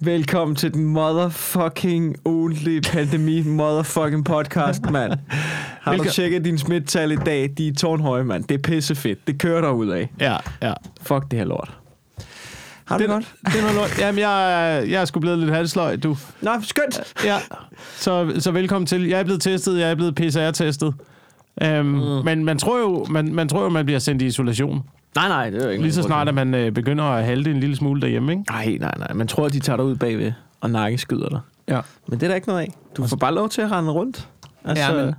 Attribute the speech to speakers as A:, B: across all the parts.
A: Velkommen til den motherfucking only pandemi motherfucking podcast, mand. Har du
B: Velko-
A: tjekket dine smittetal i dag? De er tårnhøje, mand. Det er pissefedt. Det kører der ud af.
B: Ja, ja.
A: Fuck det her lort. Har du
B: det
A: det godt?
B: Det er noget lort. Jamen, jeg, jeg er sgu blevet lidt halsløg, du.
A: Nå, skønt.
B: Ja. Så, så velkommen til. Jeg er blevet testet, jeg er blevet PCR-testet. Øhm, mm. Men man tror, jo, man, man tror jo, man bliver sendt i isolation.
A: Nej, nej, det er jo ikke
B: Lige så
A: noget,
B: snart, at man øh, begynder at halte en lille smule derhjemme, ikke?
A: Nej, nej, nej. Man tror, de tager dig ud bagved og nakkeskyder dig.
B: Ja.
A: Men det er der ikke noget af. Du får bare lov til at rende rundt. Altså,
B: Ja, men-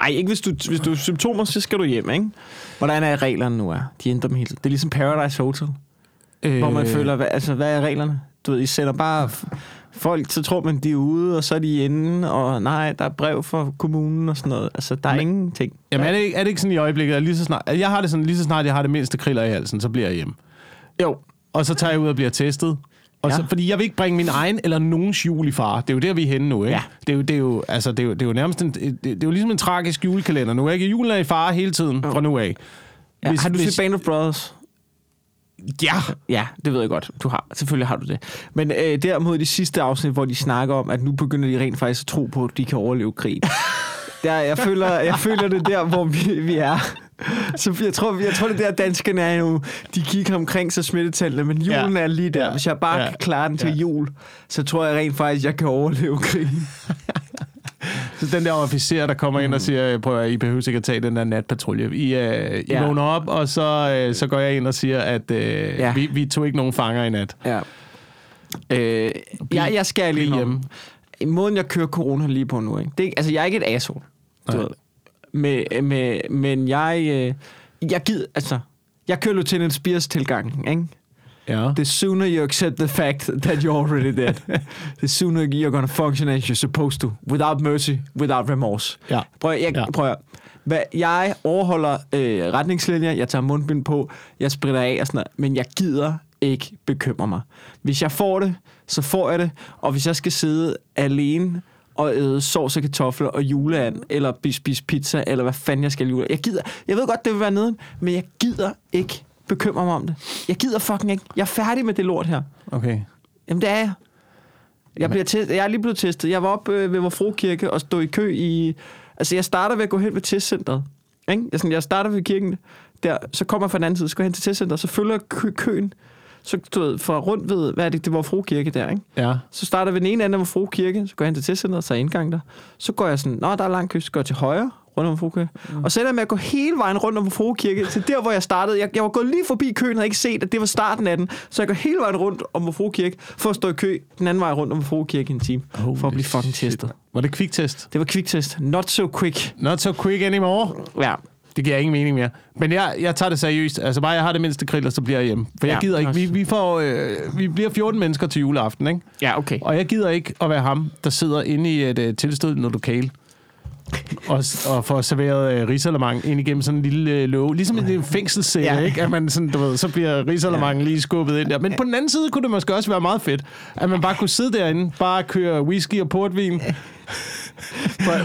A: Ej, ikke hvis du, hvis du har symptomer, så skal du hjem, ikke? Hvordan er reglerne nu er? De ændrer dem helt. Det er ligesom Paradise Hotel, øh.
B: Øh,
A: hvor man føler, hvad, altså, hvad er reglerne? Du ved, I sender bare f- folk, så tror man, de er ude, og så er de inde, og nej, der er brev fra kommunen og sådan noget. Altså, der er men, ingenting.
B: Jamen, er det, ikke, er det ikke sådan i øjeblikket, at lige så snart, at jeg har det sådan, lige så snart jeg har det mindste kriller i halsen, så bliver jeg hjemme.
A: Jo,
B: Og så tager jeg ud og bliver testet. Og
A: Ja.
B: ja. så, fordi jeg vil ikke bringe min egen eller nogens jul i fare. Det er jo der, vi er henne nu, ikke?
A: Ja.
B: Ja. Det, er jo, det, er jo, altså, det, er jo, det er jo nærmest en, det, det er jo ligesom en tragisk julekalender nu, ikke? Julen er i fare hele tiden fra nu af.
A: ja,
B: Hvis-
A: har du
B: hvis-
A: set Band of Brothers?
B: Ja,
A: Ja, det ved jeg godt. Du har. Selvfølgelig har du det. Men øh, derimod i det sidste afsnit, hvor de snakker om, at nu begynder de rent faktisk at tro på, at de kan overleve krig. Der, jeg, føler, jeg føler det der, hvor vi, vi er. Så jeg tror, jeg tror, det er der danskerne er nu. De kigger omkring sig smittetallene, men julen
B: Ja.
A: er lige der.
B: Ja.
A: Hvis jeg bare
B: Ja.
A: kan klare den til
B: Ja.
A: jul, så tror jeg rent faktisk, jeg kan overleve krigen.
B: Så den der officer, der kommer
A: Mm.
B: ind og siger, "Øh, prøv at høre, I behøver ikke at tage den der natpatrulje. I, øh, I
A: Ja.
B: ja. vågner op, og så, øh, så går jeg ind og siger, at øh, ja. vi, vi tog ikke nogen fanger i nat.
A: Ja. Øh, jeg, jeg skal lige
B: bliv
A: hjemme. Måden, jeg kører corona lige på nu, ikke? Det, er- altså, jeg er ikke et asshole, du
B: Nej.
A: ved. Med, med, men jeg, øh, jeg gider, altså, jeg kører Lieutenant Spears tilgang, ikke?
B: Ja.
A: The sooner you accept the fact that you're already dead, the sooner you're gonna function as you're supposed to, without mercy, without remorse.
B: Ja.
A: Prøv, at- jeg, ja.
B: Ja.
A: prøv at høre. Hvad, jeg overholder øh, retningslinjer, jeg tager mundbind på, jeg spritter af og sådan noget, men jeg gider ikke bekymre mig. Hvis jeg får det, så får jeg det, og hvis jeg skal sidde alene og æde sovs og kartofler og juleand, eller spise, spise pizza, eller hvad fanden jeg skal jule. Jeg gider, jeg ved godt, det vil være nede, men jeg gider ikke bekymre mig om det. Jeg gider fucking ikke. Jeg er færdig med det lort her.
B: Okay.
A: Jamen, det er jeg. Jeg, bliver test- jeg er lige blevet testet. Jeg var oppe øh, ved vores frokirke og stod i kø i... Altså, jeg starter ved at gå hen ved testcenteret. Ikke? Jeg, sådan, jeg starter ved kirken der, så kommer jeg fra den anden side, så går jeg hen til testcenteret, så følger jeg kø- køen. Så du ved, fra rundt ved, hvad er det, det var frokirke der, ikke?
B: Ja.
A: Så starter jeg ved den ene ende af Vofro Kirke, så går jeg hen til testcenteret, så er indgang der. Så går jeg sådan, nå, der er lang kø, så går jeg til højre, rundt om Vofro Kirke. Mm. Og så ender jeg med at gå hele vejen rundt om Vofro Kirke, til der, hvor jeg startede. Jeg, jeg var gået lige forbi køen, havde ikke set, at det var starten af den. Så jeg går hele vejen rundt om Vofro Kirke, for at stå i kø den anden vej rundt om Vofro Kirke i en time, Holy for at blive fucking shit. testet.
B: Var det kviktest?
A: Det var kviktest. Not so quick.
B: Not so quick anymore.
A: Ja.
B: Det giver ingen mening mere. Men jeg, jeg tager det seriøst. Altså bare jeg har det mindste kriller, så bliver jeg hjemme. For jeg
A: Ja,
B: gider ikke. Vi,
A: også.
B: vi, får, øh, vi bliver 14 mennesker til juleaften, ikke?
A: Ja, okay.
B: Og jeg gider ikke at være ham, der sidder inde i et øh, tilstødende lokale og, s- og får serveret øh, risalamang ind igennem sådan en lille øh, låge. Ligesom en lille fængselssæde,
A: Ja.
B: ja. ikke? At man sådan, du ved, så bliver risalamangen lige skubbet ind der. Men på den anden side kunne det måske også være meget fedt, at man bare kunne sidde derinde, bare køre whisky og portvin,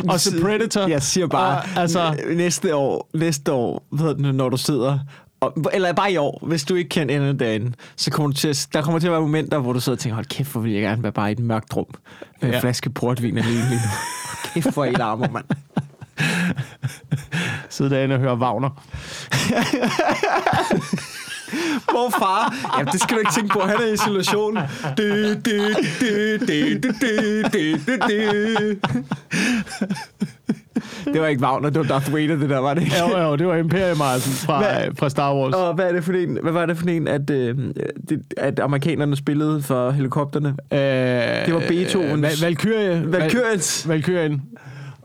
B: og så Predator.
A: Jeg siger bare,
B: Og, altså,
A: n- næste år, næste år hvad hedder det, nu, når du sidder, og, eller bare i år, hvis du ikke kan ende derinde, så kommer du til at, der kommer til at være momenter, hvor du sidder og tænker, hold kæft, hvor vil jeg gerne være bare i et mørkt rum med ja.
B: Ja.
A: en flaske portvin alene lige nu. Hold Kæft, hvor I larmer, mand.
B: sidde derinde og høre Wagner.
A: Hvor far? Ja, det skal du ikke tænke på. Han er i isolation. Du, du, du, du, du, du, du, du, du. Det var ikke Wagner, det var Darth Vader, det der, var det ikke?
B: Jo, jo, det var Imperium Marsen fra,
A: Hvad?
B: øh, fra Star Wars.
A: Og hvad er det for en, hvad var det for en at, øh, det, at amerikanerne spillede for helikopterne?
B: Øh,
A: det var Beethovens-
B: Val- Valkyrie.
A: Valkyrens.
B: Valkyrien.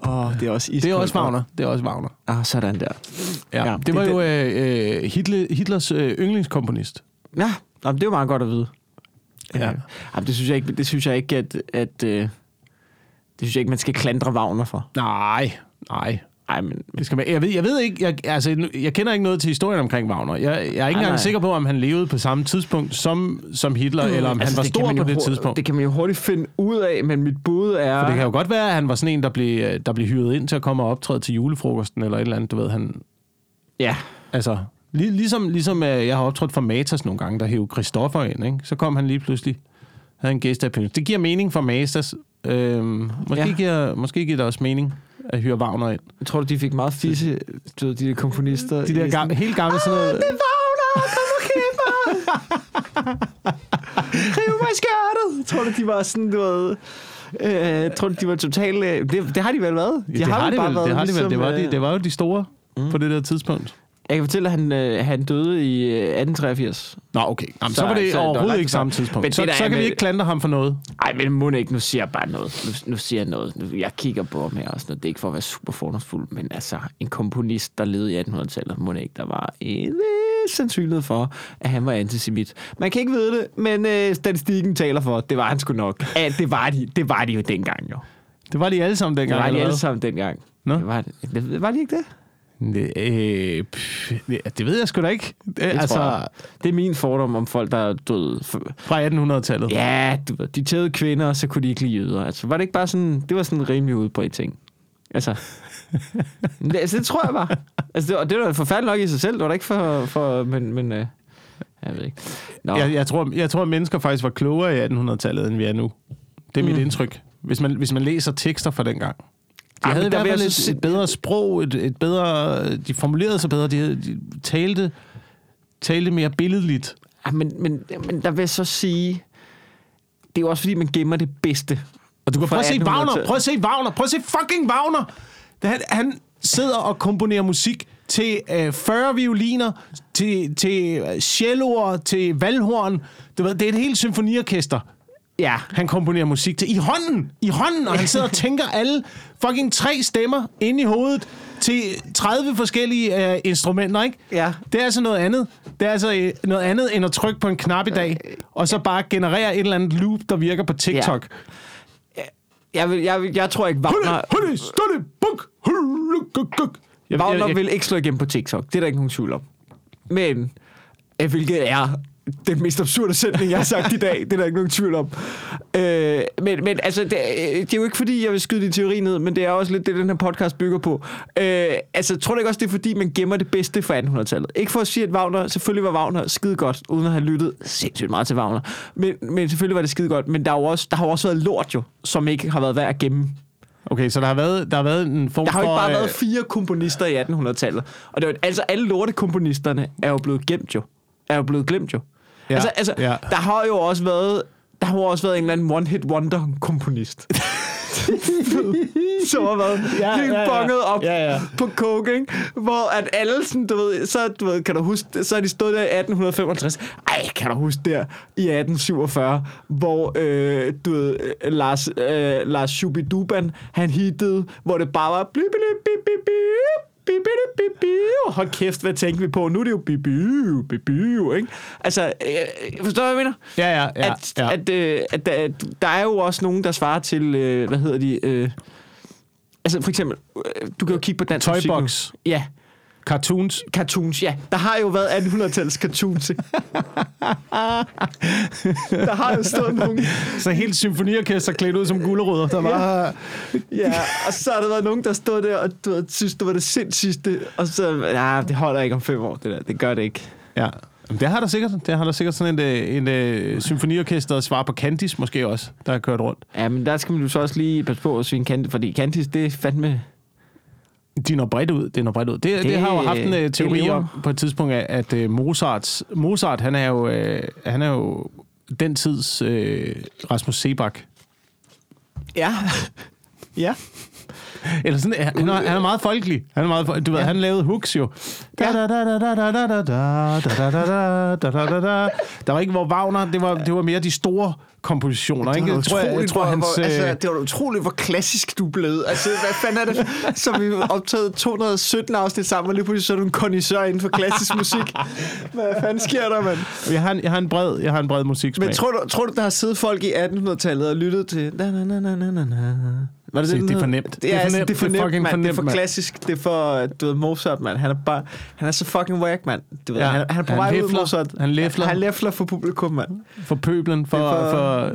A: Åh, oh, det er også
B: Det er også Wagner. Det er også Wagner.
A: Ah, sådan der.
B: Ja,
A: Ja,
B: ja,
A: det
B: det var
A: er
B: jo øh, øh, Hitler, Hitlers øh, yndlingskomponist.
A: Ja, jamen, det er jo meget godt at vide.
B: Ja.
A: Øh, jamen, det synes jeg ikke, det synes jeg ikke at, at øh, det synes jeg ikke, man skal klandre Wagner for.
B: Nej, nej.
A: Nej, men
B: Det skal man, jeg, ved, jeg ved ikke, jeg, altså, nu- jeg kender ikke noget til historien omkring Wagner. Jeg, jeg er ikke engang
A: nej.
B: sikker på, om han levede på samme tidspunkt som, som Hitler, eller om han var
A: kan
B: stor
A: man
B: på
A: jo
B: det
A: hur-
B: tidspunkt.
A: Mm. Altså, Det
B: Det,
A: kan man jo hurtigt finde ud af, men mit bud er...
B: det kan jo godt være, at han var sådan en, der blev, øh, der blev hyret ind til at komme og optræde til julefrokosten, eller et eller andet, du ved. Han,
A: Ja,
B: altså, lig, ligesom, ligesom øh, jeg har optrådt for Matas nogle gange, der hævde Christoffer ind, ikke? så kom han lige pludselig. havde en gæsteappearance. Det giver mening for Masters. Øhm, måske,
A: Ja.
B: ja. giver, måske giver det også mening at hyre Wagner ind.
A: Jeg tror, de fik meget fisse, du ved, de der komponister.
B: De der
A: i-
B: gamle, helt gamle sådan noget...
A: Det vågner, kom og kæmpe mig. Riv mig i skørtet. Tror du, de var sådan, du ved... Øh, tror du, de var totalt... Øh, det, det, har de vel været?
B: Ja, det har,
A: vel
B: de vel, det har de vel. Det var,
A: øh,
B: de, det var jo de store ligesom, mm. på det der tidspunkt.
A: Jeg kan fortælle, at han, øh, han døde i øh, 1883.
B: Nå, okay. Jamen, så,
A: Så-
B: så var det
A: så- det
B: så,
A: var
B: overhovedet
A: langt
B: ikke samme
A: tilbage.
B: tidspunkt.
A: Men
B: så,
A: det, der
B: så
A: er
B: kan vi
A: med-
B: ikke klandre ham for noget.
A: Ej, men må ikke. Nu siger jeg bare noget. Nu, nu siger jeg noget. Nu, jeg kigger på ham her og sådan noget. Det er ikke for at være super fordomsfuld, men altså, en komponist, der levede i 1800-tallet, må ikke, der var en øh, sandsynlighed for, at han var antisemit. Man kan ikke vide det, men øh, statistikken taler for, at det var han sgu nok. Ja, det var de, det var de jo dengang, jo.
B: Det var de alle sammen
A: Det
B: dengang.
A: var de
B: eller
A: alle
B: hvad?
A: sammen dengang.
B: Nå.
A: Det var, det, var de ikke det?
B: Det, øh, pff, det, det ved jeg sgu da ikke. Det,
A: det
B: altså,
A: tror jeg. det er min fordom om folk, der er døde
B: fra 1800-tallet.
A: Ja, du ved, de tævede kvinder, og så kunne de ikke lide jøder. Altså, var det ikke bare sådan, det var sådan en rimelig udbredt ting? Altså, det, altså, det tror jeg bare. Altså, det, og det var forfærdeligt nok i sig selv, det var det ikke for, for men, men øh, jeg ved ikke. Nå,
B: Jeg, jeg, tror, jeg tror, at mennesker faktisk var klogere i 1800-tallet, end vi er nu. Det er mit
A: Mm.
B: indtryk. Hvis man, hvis man læser tekster fra dengang. De
A: Ej,
B: havde i
A: men der
B: hvert
A: vil jeg
B: fald
A: så
B: et,
A: sige-
B: et bedre sprog, et, et bedre, de formulerede sig bedre, de, havde, de talte, talte mere billedligt.
A: ja, ah, men, men, men der vil jeg så sige, det er jo også fordi, man gemmer det bedste.
B: Og du kan
A: Fra
B: prøve at se
A: 1800-tallet.
B: Wagner, prøv at se Wagner, prøv at se fucking Wagner. Da Han, han sidder og komponerer musik til øh, 40 violiner, til, til øh, celloer, til valghorn. Du ved, det er et helt symfoniorkester.
A: Ja,
B: Han komponerer musik til i hånden, i hånden, og han sidder og tænker alle fucking tre stemmer ind i hovedet til 30 forskellige øh, instrumenter, ikke?
A: Ja.
B: Det er altså noget andet. Det er altså øh, noget andet end at trykke på en knap i dag,
A: Øh,
B: og så bare generere et eller andet loop, der virker på TikTok. Ja.
A: jeg, vil, jeg, vil- jeg tror ikke, Wagner,
B: Hulle, stulle, buk, hulle, guk, guk. Jeg, jeg,
A: Wagner
B: jeg, jeg,
A: vil ikke slå igennem på TikTok. Det er der ikke nogen tvivl om. Men, øh, hvilket er den mest absurde sætning, jeg har sagt i dag. Det er der ikke nogen tvivl om. Øh, men, men altså, det, øh, det er jo ikke fordi, jeg vil skyde din teori ned, men det er også lidt det, den her podcast bygger på. Øh, altså, tror du ikke også, det er fordi, man gemmer det bedste fra 1800-tallet? Ikke for at sige, at Wagner, selvfølgelig var Wagner skide godt, uden at have lyttet sindssygt meget til Wagner. Men, men selvfølgelig var det skide godt, men der, er jo også, der har jo også været lort jo, som ikke har været værd at gemme.
B: okay, så der har været, der har været en form
A: Der har jo
B: for...
A: ikke bare
B: øh,
A: været fire komponister i 1800-tallet. Og det er jo, altså, alle lortekomponisterne er jo blevet gemt jo. Er jo blevet glemt jo. Ja,
B: Ja,
A: altså, altså ja.
B: ja.
A: der har jo også været... Der har jo også været en eller anden one-hit wonder-komponist. som har været ja,
B: Ja,
A: helt
B: ja, ja.
A: bonget op ja,
B: Ja,
A: ja.
B: ja.
A: på coke, ikke? Hvor at alle sådan, du ved, så, du ved, kan du huske, det? så er de stået der i 1855. Ej, kan du huske der i 1847, hvor, øh, du ved, øh, Lars, øh, Lars Shubiduban, han hittede, hvor det bare var... Blip, blip, blip, blip, blip. Bibi, bibi, bibi. Hold kæft, hvad tænker vi på? Nu er det jo bibi, bibi, ikke? Altså, øh, forstår du, hvad jeg mener?
B: Ja, ja, ja.
A: at,
B: ja.
A: At, øh, at, der- at der er jo også nogen, der svarer til, øh, hvad hedder de... Øh, altså for eksempel, øh, du kan jo kigge på dansk musik nu.
B: Toybox.
A: Ja,
B: Cartoons.
A: cartoons, ja. Der har jo været 1800-tallets cartoons. ikke? der har jo stået nogen...
B: Så helt symfoniorkester klædt ud som gulerødder. Der var...
A: Ja, og så har der været nogen, der stod der og du, ved, synes, det var det sindssygste. Og så, nej, det holder ikke om fem år, det der. Det gør det ikke.
B: Ja. Jamen, det har der sikkert. Det har der sikkert sådan en, øh, en, en symfoniorkester svar på Candice måske også, der har kørt rundt.
A: Ja, men der skal man jo så også lige passe på at svine Candice, fordi Candice, det er fandme...
B: De når bredt ud. Det når bredt ud. Det, det,
A: Det-
B: det har jo haft en øh,
A: det
B: teori
A: lever.
B: om på et tidspunkt, at, at øh, Mozarts, Mozart, han er jo, øh, han er jo den tids øh, Rasmus Sebak.
A: Ja. ja.
B: Eller sådan, øh, han, han, er, han er meget folkelig. Han er meget, fol- du ved, han lavede hooks jo. Da, da, da, da, da, da, da, da, da, da, da, da, da, da, da, da. Der var ikke, hvor Wagner, det var, det var mere de store kompositioner, ikke? Jeg tror, jeg, jeg tror, hans...
A: hvor, altså,
B: øh,
A: det var utroligt, hvor klassisk du blev. Altså, hvad fanden er det, som vi har optaget 217 afsnit sammen, og lige pludselig så er du en connoisseur inden for klassisk musik. Hvad fanden sker der, mand?
B: Jeg har, en, jeg har en bred, jeg har en bred musiksmag.
A: Men tror du, tror du, der har siddet folk i 1800-tallet og lyttet til... Na, na, na, na, na, na, na. Var det,
B: Se,
A: den
B: det er
A: hed?
B: for nemt.
A: Det er, altså, det er for nemt,
B: fucking
A: mand.
B: for
A: Det er
B: nemt,
A: for
B: mand.
A: klassisk. Det er for, du ved, Mozart, mand. Han er, bare, han er så fucking whack, mand. Du ved, ja.
B: Ja.
A: han, han er på
B: Han
A: vej ud,
B: lefler.
A: Mozart.
B: Han lefler.
A: Han lefler for publikum, mand.
B: for pøblen, for...
A: Det er for-
B: for, for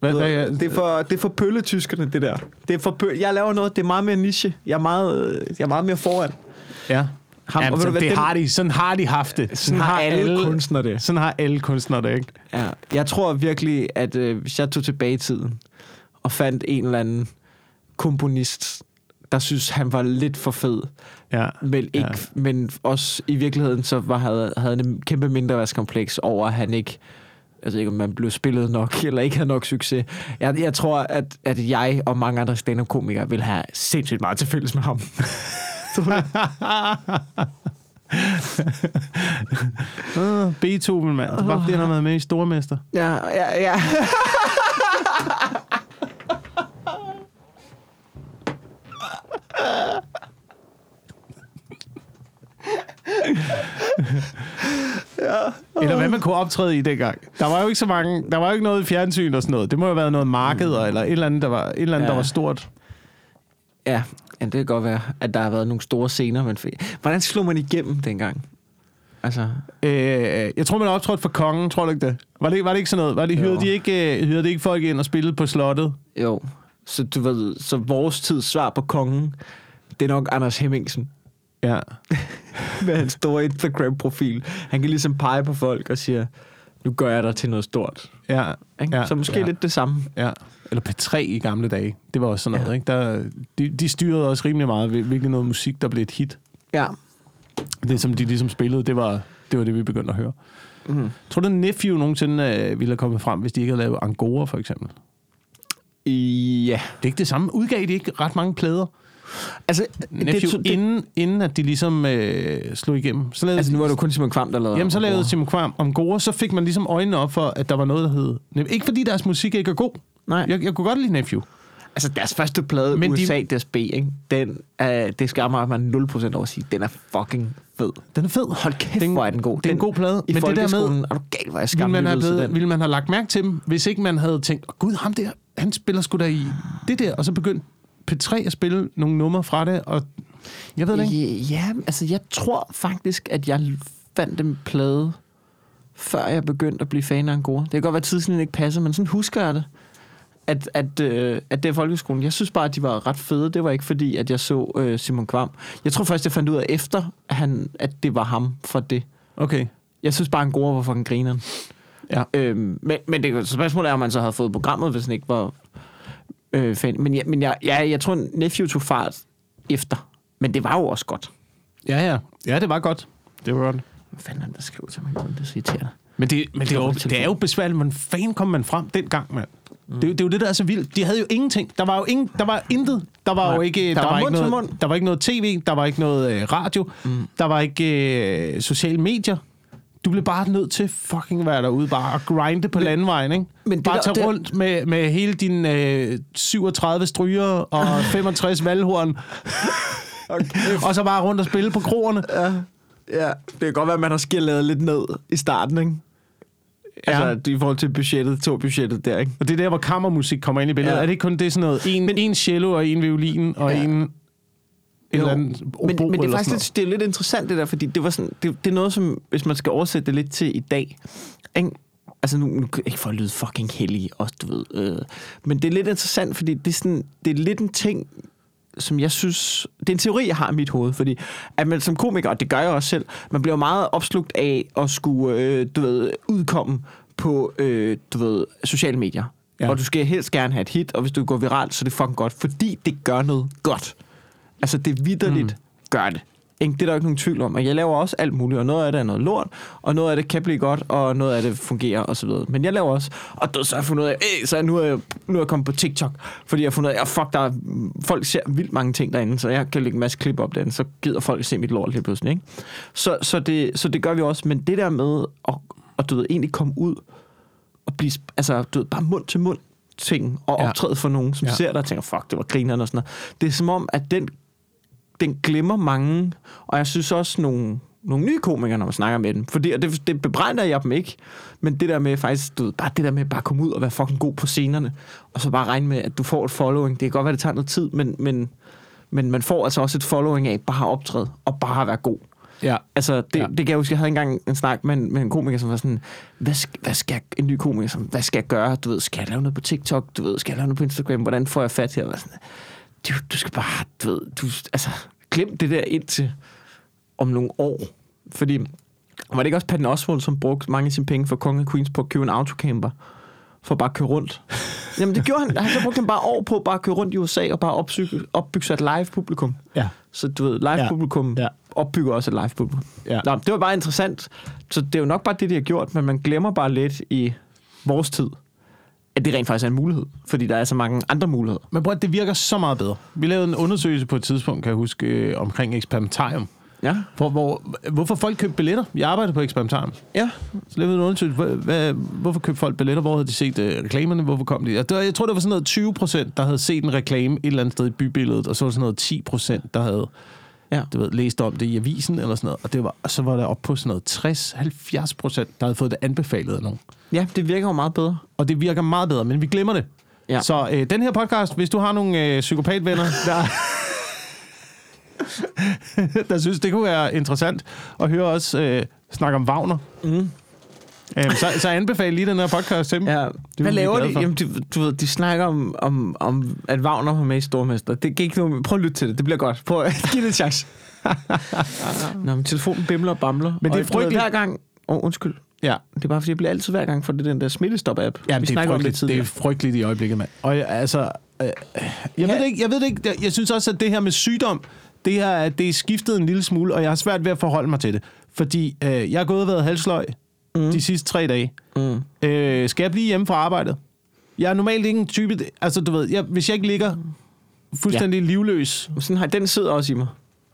B: hvad, hvad,
A: Det er for, det er for pølletyskerne, det der. Det er for pø- jeg laver noget, det er meget mere niche. Jeg er meget, øh, jeg er meget mere foran.
B: Ja.
A: Ham, og
B: Jamen,
A: ved du
B: sådan,
A: hvad,
B: det
A: dem-
B: har de, sådan har de haft det.
A: Sådan har alle kunstnere det.
B: Sådan har alle kunstnere det, ikke?
A: Ja, jeg tror virkelig, at øh, hvis jeg tog tilbage i tiden og fandt en eller anden komponist, der synes han var lidt for fed,
B: Ja.
A: men, ikke,
B: Ja.
A: ja. men også i virkeligheden, så var, havde, havde han en kæmpe mindreværdskompleks over, at han ikke altså ikke, om man blev spillet nok, eller ikke havde nok succes. Jeg, jeg tror, at, at jeg og mange andre stand-up-komikere vil have sindssygt meget til fælles med ham.
B: Øh, Beethoven, mand. Det er bare fordi, han har været med i Stormester.
A: Ja, ja, ja.
B: Eller hvad man kunne optræde i dengang. Der var jo ikke så mange, der var jo ikke noget fjernsyn og sådan noget. Det må jo have været noget markeder, eller et eller andet, der var, et eller andet,
A: Ja.
B: ja. der var stort.
A: Ja, ja, det kan godt være, at der har været nogle store scener. Men fe- hvordan slog man igennem dengang? Altså,
B: Øh, jeg tror, man har optrådt for kongen, tror du ikke det? Var det, var det ikke sådan noget? Var det, hyrede,
A: Jo.
B: de ikke, øh, hyrede de ikke folk ind og spillede på slottet?
A: jo. Så du ved, så vores tids svar på kongen, det er nok Anders Hemmingsen
B: Ja.
A: med hans store Instagram-profil. Han kan ligesom pege på folk og siger, nu gør jeg dig til noget stort.
B: Ja.
A: Ikke?
B: Ja,
A: så måske
B: ja.
A: lidt det samme.
B: ja. Eller P3 i gamle dage. Det var også sådan noget,
A: Ja.
B: ikke? Der, de, de styrede også rimelig meget, hvil- hvilken noget musik, der blev et hit.
A: Ja.
B: Det, som de ligesom spillede, det var det, var det vi begyndte at høre.
A: Mm.
B: Tror du, Nephew nogensinde øh, ville have kommet frem, hvis de ikke havde lavet Angora, for eksempel?
A: Ja.
B: Det er ikke det samme. Udgav de ikke ret mange plader?
A: Altså,
B: Nephew,
A: det,
B: det, det, inden, inden at de ligesom øh, slog igennem. Så lavede
A: altså, nu var det jo kun Simon Kvam, der lavede
B: Jamen, så
A: om-
B: lavede Simon Kvam om Gore, så fik man ligesom øjnene op for, at der var noget, der hed... Nem- Ikke fordi deres musik ikke er god.
A: Nej.
B: Jeg, jeg kunne godt lide Nephew.
A: Altså, deres første plade,
B: Men
A: Men
B: de-
A: USA de... DSB, ikke? Den, øh, det skammer mig 0% over at sige, den er fucking fed.
B: Den er fed.
A: Hold kæft,
B: Den-
A: hvor er den god.
B: det er en god plade,
A: I
B: men det der med-
A: folkeskolen, er du galt, hvor jeg
B: Ville
A: skammer
B: man, have blevet,
A: den.
B: ville man have lagt mærke til dem, hvis ikke man havde tænkt, oh, gud, ham der, han spiller sgu da i det der, og så begyndte P3 at spille nogle numre fra det, og jeg ved det ikke.
A: Ja, ja, altså jeg tror faktisk, at jeg fandt en plade, før jeg begyndte at blive fan af Angora. Det kan godt være, at tidslinjen ikke passer, men sådan husker jeg det. At, at, øh, at det er folkeskolen. Jeg synes bare, at de var ret fede. Det var ikke fordi, at jeg så øh, Simon Kvam. Jeg tror først, jeg fandt ud af efter, at, han, at det var ham for det.
B: Okay.
A: Jeg synes bare, at Angora var fucking grineren.
B: Ja.
A: Øhm, men, men det spørgsmålet er, om man så havde fået programmet, hvis den ikke var øh, fan. Men, jeg, men jeg, jeg, jeg tror, Nephew tog fart efter. Men det var jo også godt.
B: Ja, ja. Ja, det var godt. Det var godt.
A: Hvad fanden er det, der skriver til mig? Det er så irriterende.
B: Men det, men det, er, jo, det er jo besværligt. Hvordan fanden kom man frem dengang, mand? Mm. Det, er jo- det er jo det, der er så vildt. De havde jo ingenting. Der var jo ingen, der var intet. Der var
A: Nej.
B: jo ikke,
A: Der var
B: ikke
A: mund til
B: noget,
A: mund.
B: der var ikke noget tv, der var ikke noget øh, radio, mm. der var ikke øh, sociale medier. Du blev bare nødt til fucking at være derude, bare at grinde på men, landvejen, ikke?
A: men
B: Men
A: det
B: bare
A: der-
B: tage
A: det-
B: rundt med, med hele din øh, 37 stryger og 65 valghorn,
A: Okay.
B: og så bare rundt og spille på kroerne.
A: ja, det kan godt være, at man har skillet lidt ned i starten, ikke?
B: Ja.
A: Ja. Altså, i forhold til budgettet, to budgettet der, ikke?
B: Og det er der, hvor kammermusik kommer ind i billedet. Ja.
A: Ja.
B: Er det ikke kun det sådan noget? En, men, en cello og en violin og ja.
A: Ja.
B: en... En eller anden obo
A: men, men det er
B: eller
A: faktisk
B: sådan
A: lidt, det er lidt interessant det der, fordi det, var sådan, det, det er noget, som hvis man skal oversætte det lidt til i dag, ikke? altså nu, nu ikke for at lyde fucking heldig også, du ved, øh, men det er lidt interessant, fordi det er, sådan, det er lidt en ting, som jeg synes, det er en teori, jeg har i mit hoved, fordi at man som komiker, og det gør jeg også selv, man bliver meget opslugt af at skulle, øh, du ved, udkomme på, øh, du ved, sociale medier.
B: Ja.
A: Ja. Og du skal helst gerne have et hit, og hvis du går viralt, så er det fucking godt, fordi det gør noget godt. Altså, det vidderligt mm. gør det. Ikke? Det er der jo ikke nogen tvivl om. Og jeg laver også alt muligt, og noget af det er noget lort, og noget af det kan blive godt, og noget af det fungerer og så videre. Men jeg laver også, og du, så har jeg fundet ud af, "Øh, så er jeg- nu er jeg, nu er jeg kommet på TikTok, fordi jeg har fundet ud af, "Ah, fuck, der er, folk ser vildt mange ting derinde, så jeg kan lægge en masse klip op derinde, så gider folk se mit lort lige pludselig. Ikke? Så, så, det, så det gør vi også, men det der med at, at du ved, egentlig komme ud at blive, sp- altså, du ved, bare mund til mund ting, og
B: Ja.
A: optræde for nogen, som
B: Ja.
A: ja. ser dig og tænker, fuck, det var grineren og sådan noget. Det er som om, at den, den glemmer mange, og jeg synes også nogle, nogle nye komikere, når man snakker med dem, fordi, og det, det bebrejder jeg dem ikke, men det der med faktisk, du ved, bare det der med bare at komme ud og være fucking god på scenerne, og så bare regne med, at du får et following, det kan godt være, det tager noget tid, men, men, men man får altså også et following af bare at optræde, og bare at være god.
B: Ja.
A: Altså, det,
B: Ja.
A: ja. det kan jeg huske, jeg havde engang en snak med en, med en komiker, som var sådan, hvad, sk- hvad skal jeg, en ny komiker, som, hvad skal jeg gøre? Du ved, skal jeg lave noget på TikTok? Du ved, skal jeg lave noget på Instagram? Hvordan får jeg fat her? Jeg var sådan, du, du skal bare, du ved, du, altså, glem det der indtil, om nogle år. Fordi var det ikke også Patton Oswald, som brugte mange af sine penge for Kongen af Queens på at købe en autocamper? For at bare køre rundt. Jamen det gjorde han. Han så brugte han bare år på at bare køre rundt i USA og bare opbygge, opbygge sig et live publikum.
B: Ja.
A: Så du ved, live publikum ja. ja.
B: Ja.
A: opbygger også et live publikum.
B: Ja.
A: Nå, det var bare interessant. Så det er jo nok bare det, de har gjort, men man glemmer bare lidt i vores tid, at det rent faktisk er en mulighed, fordi der er så mange andre muligheder.
B: Men prøv at, det virker så meget bedre. Vi lavede en undersøgelse på et tidspunkt, kan jeg huske, øh, omkring eksperimentarium.
A: Ja.
B: Hvor, hvor, hvorfor folk købte billetter? Jeg arbejder på eksperimentarium.
A: Ja.
B: Så lavede vi en undersøgelse. Hvad, hvad, hvorfor købte folk billetter? Hvor havde de set øh, reklamerne? Hvorfor kom de? Og det var, jeg tror, det var sådan noget 20 procent, der havde set en reklame et eller andet sted i bybilledet. Og så var det sådan noget 10 procent, der havde
A: Ja.
B: du ved, læst om det i avisen eller sådan noget. Og, det var, og så var der op på sådan noget 60-70 procent, der havde fået det anbefalet af nogen.
A: ja, det virker jo meget bedre.
B: Og det virker meget bedre, men vi glemmer det.
A: Ja.
B: Så øh, den her podcast, hvis du har nogle øh, psykopatvenner, der, der synes, det kunne være interessant at høre os øh, snakke om Wagner, mm. øh, så, så anbefale lige den her podcast til dem.
A: Ja.
B: vi
A: Hvad laver
B: glade
A: de?
B: for.
A: Jamen, de, du ved, de snakker om, om, om at Wagner var med i Stormester. Det gik ikke nogen... Prøv at lytte til det. Det bliver godt. Prøv at give det en chance. Nå, men telefonen bimler og bamler.
B: Men det er
A: Og du ved,
B: frygteligt.
A: Hver gang... Åh, oh, undskyld.
B: ja.
A: Det er bare, fordi jeg bliver altid hver gang for det den der smittestop-app.
B: Ja,
A: vi
B: det er,
A: snakker om det
B: frygteligt, det er
A: tidligere.
B: frygteligt i øjeblikket, mand. Og jeg, altså, øh, jeg, ved det ikke, jeg ved det ikke, jeg, jeg synes også, at det her med sygdom, det, her, det er skiftet en lille smule, og jeg har svært ved at forholde mig til det. Fordi øh, jeg har gået og været halsløg mm. de sidste tre dage. Mm. Øh, skal jeg blive hjemme fra arbejdet? Jeg er normalt ikke en type... Altså, du ved, jeg, hvis jeg ikke ligger fuldstændig ja. livløs,
A: Mm. Sådan har, den sidder også i mig.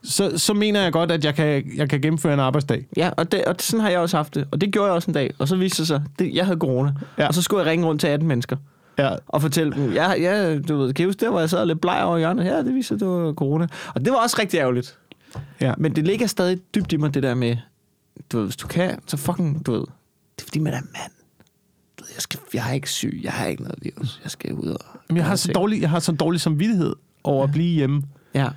B: så, så mener jeg godt, at jeg kan, jeg kan gennemføre en arbejdsdag.
A: Ja, og, det, og det, sådan har jeg også haft det. Og det gjorde jeg også en dag. Og så viste det sig, at jeg havde corona.
B: Ja.
A: Ja. Og så skulle jeg ringe rundt til 18 mennesker
B: Ja.
A: og fortælle dem, ja, ja du ved, kan I huske der, hvor jeg sad lidt bleg over i hjørnet? Ja, det viste sig, at det var corona. Og det var også rigtig ærgerligt.
B: Ja.
A: Men det ligger stadig dybt i mig, det der med, du ved, hvis du kan, så fucking, du ved, det er fordi, man er mand. Du ved, jeg, skal, jeg er ikke syg, jeg har ikke noget virus, jeg skal ud og...
B: Men jeg har,
A: gøre
B: så
A: ting.
B: dårlig, jeg har så dårlig samvittighed over at blive hjemme.
A: Ja,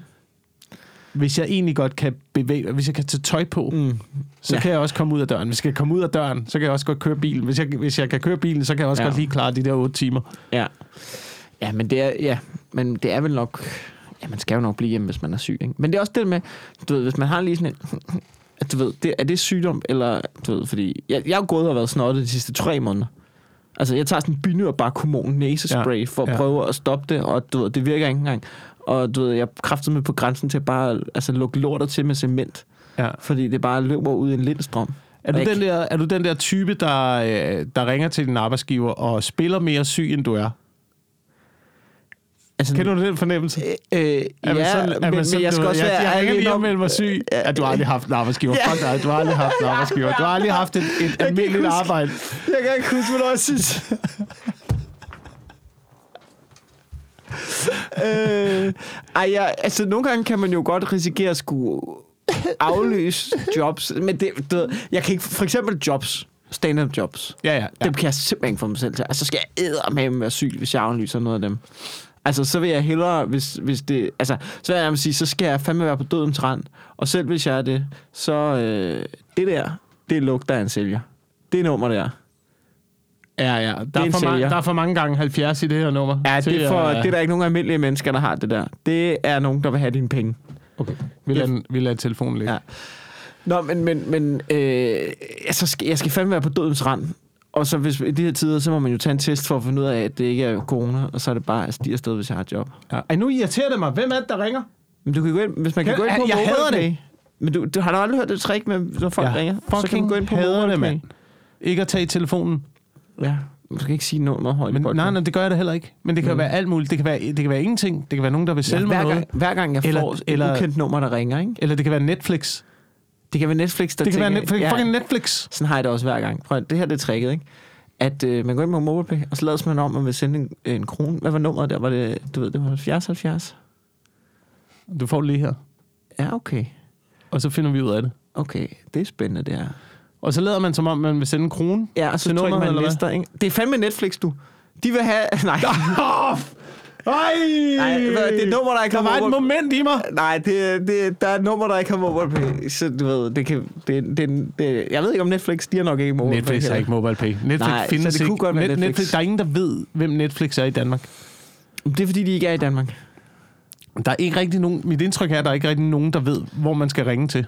B: hvis jeg egentlig godt kan bevæge hvis jeg kan tage tøj på, mm. så ja.
A: Ja.
B: kan jeg også komme ud af døren. Hvis jeg kan komme ud af døren, så kan jeg også godt køre bilen. Hvis jeg, hvis jeg kan køre bilen, så kan jeg også ja.
A: Ja.
B: godt lige klare de der otte timer.
A: ja. Ja, men det er, ja, men det er vel nok... Ja, man skal jo nok blive hjemme, hvis man er syg, ikke? Men det er også det med, du ved, hvis man har lige sådan en... At du ved, det, er det sygdom, eller... Du ved, fordi... Jeg, jeg har jo gået og været snottet de sidste tre måneder. Altså, jeg tager sådan en binyrbark hormon næsespray
B: Ja,
A: ja, for at
B: ja.
A: ja. prøve at stoppe det, og du ved, det virker ikke engang. Og du ved, jeg kræftede mig på grænsen til at bare altså, lukke lorter til med cement,
B: Ja.
A: fordi det bare løber ud i en lindstrøm.
B: Er, du
A: Og jeg
B: den der, er du den der type, der, øh, der ringer til din arbejdsgiver og spiller mere syg, end du er?
A: altså,
B: Kender du den fornemmelse?
A: Øh, øh,
B: Er man
A: ja,
B: sådan- er
A: men,
B: man
A: men
B: sådan,
A: jeg
B: du
A: skal
B: ved,
A: også være
B: Jeg, jeg ringer
A: ærlig
B: lige
A: nok-
B: om, at var syg. Ja, du har aldrig haft en arbejdsgiver. Fuck dig, du har aldrig haft en arbejdsgiver. Du har aldrig haft et, et almindeligt
A: huske-
B: arbejde.
A: Jeg kan ikke huske, hvornår jeg sidst... øh, ej, jeg, altså nogle gange kan man jo godt risikere at skulle afløse jobs, men det, du ved, jeg kan ikke, for eksempel jobs, stand-up jobs,
B: Ja, ja.
A: ja. dem kan jeg simpelthen ikke få mig selv til. Altså så skal jeg eddermame være syg, hvis jeg aflyser noget af dem. Altså, så vil jeg hellere, hvis, hvis det... Altså, så vil jeg nærmest sige, så skal jeg fandme være på dødens rand. Og selv hvis jeg er det, så øh, det der, det lugter af en sælger. Det nummer der.
B: ja, ja. Der, er
A: en
B: for mange,
A: sælger.
B: der er for mange gange 70 i det her nummer.
A: Ja,
B: Til,
A: det er, for,
B: øh,
A: det er der ikke nogen almindelige mennesker, der har det der. Det er nogen, der vil have dine penge.
B: Okay, vi lader, den- vi lader telefonen ligge.
A: Ja. Nå, men, men, men øh, altså, skal- jeg skal fandme være på dødens rand. Og så hvis, i de her tider, så må man jo tage en test for at finde ud af, at det ikke er corona, og så er det bare at stige afsted, hvis jeg har et job.
B: Ja. Ej, nu irriterer det mig. Hvem er det, der ringer?
A: Men du kan gå ind, hvis man kan
B: Jeg-
A: gå ind på
B: jeg hader
A: MobilePay- Men du, du, har du aldrig hørt det trick med, når folk
B: Jeg
A: ringer? Så kan
B: fucking
A: man gå ind på
B: hader det,
A: MobilePay.
B: mand. Ikke at tage telefonen.
A: Ja, man skal ikke sige noget højt. i
B: Men,
A: podcast.
B: nej, nej, det gør jeg da heller ikke. Men det kan mm. være alt muligt. Det kan være, det kan være ingenting. Det kan være nogen, der vil sælge mig
A: hver,
B: noget.
A: gang, hver gang jeg
B: Eller-
A: får et
B: eller-
A: ukendt nummer, der ringer, ikke?
B: Eller det kan være Netflix.
A: Det kan være Netflix, der
B: Det kan
A: tænker...
B: være Netflix.
A: ja,
B: fucking Netflix.
A: Sådan har jeg det også hver gang. Prøv, at- det her det er tricket, ikke? At øh, man går ind på MobilePay, og så lader man om, at man vil sende en, en krone. Hvad var nummeret der? Var det, du ved, det var 70 70?
B: Du får det lige her.
A: Ja, okay.
B: Og så finder vi ud af det.
A: Okay, det er spændende, det her.
B: Og så lader man som om, man vil sende en krone.
A: Ja, og så
B: Til
A: trykker
B: nummeret,
A: man
B: eller hvad?
A: næste, ikke? Det er fandme Netflix, du. De vil have... Nej,
B: Ej!
A: Nej, hvad- det er nummer, der ikke
B: Der
A: har
B: var et
A: nummer-
B: moment i mig.
A: nej det, det, der er et nummer, der ikke har MobilePay. Så du ved, det kan... Det, det, det, jeg ved ikke, om Netflix, de har nok ikke MobilePay.
B: Netflix er
A: heller.
B: ikke mobile pay. Netflix
A: Nej, så
B: findes
A: det kunne
B: ikke.
A: godt være
B: Net-
A: Netflix.
B: Der er ingen, der ved, hvem Netflix er i Danmark.
A: Det er, fordi de ikke er i Danmark.
B: Der er ikke rigtig nogen... Mit indtryk er, at der er ikke rigtig nogen, der ved, hvor man skal ringe til.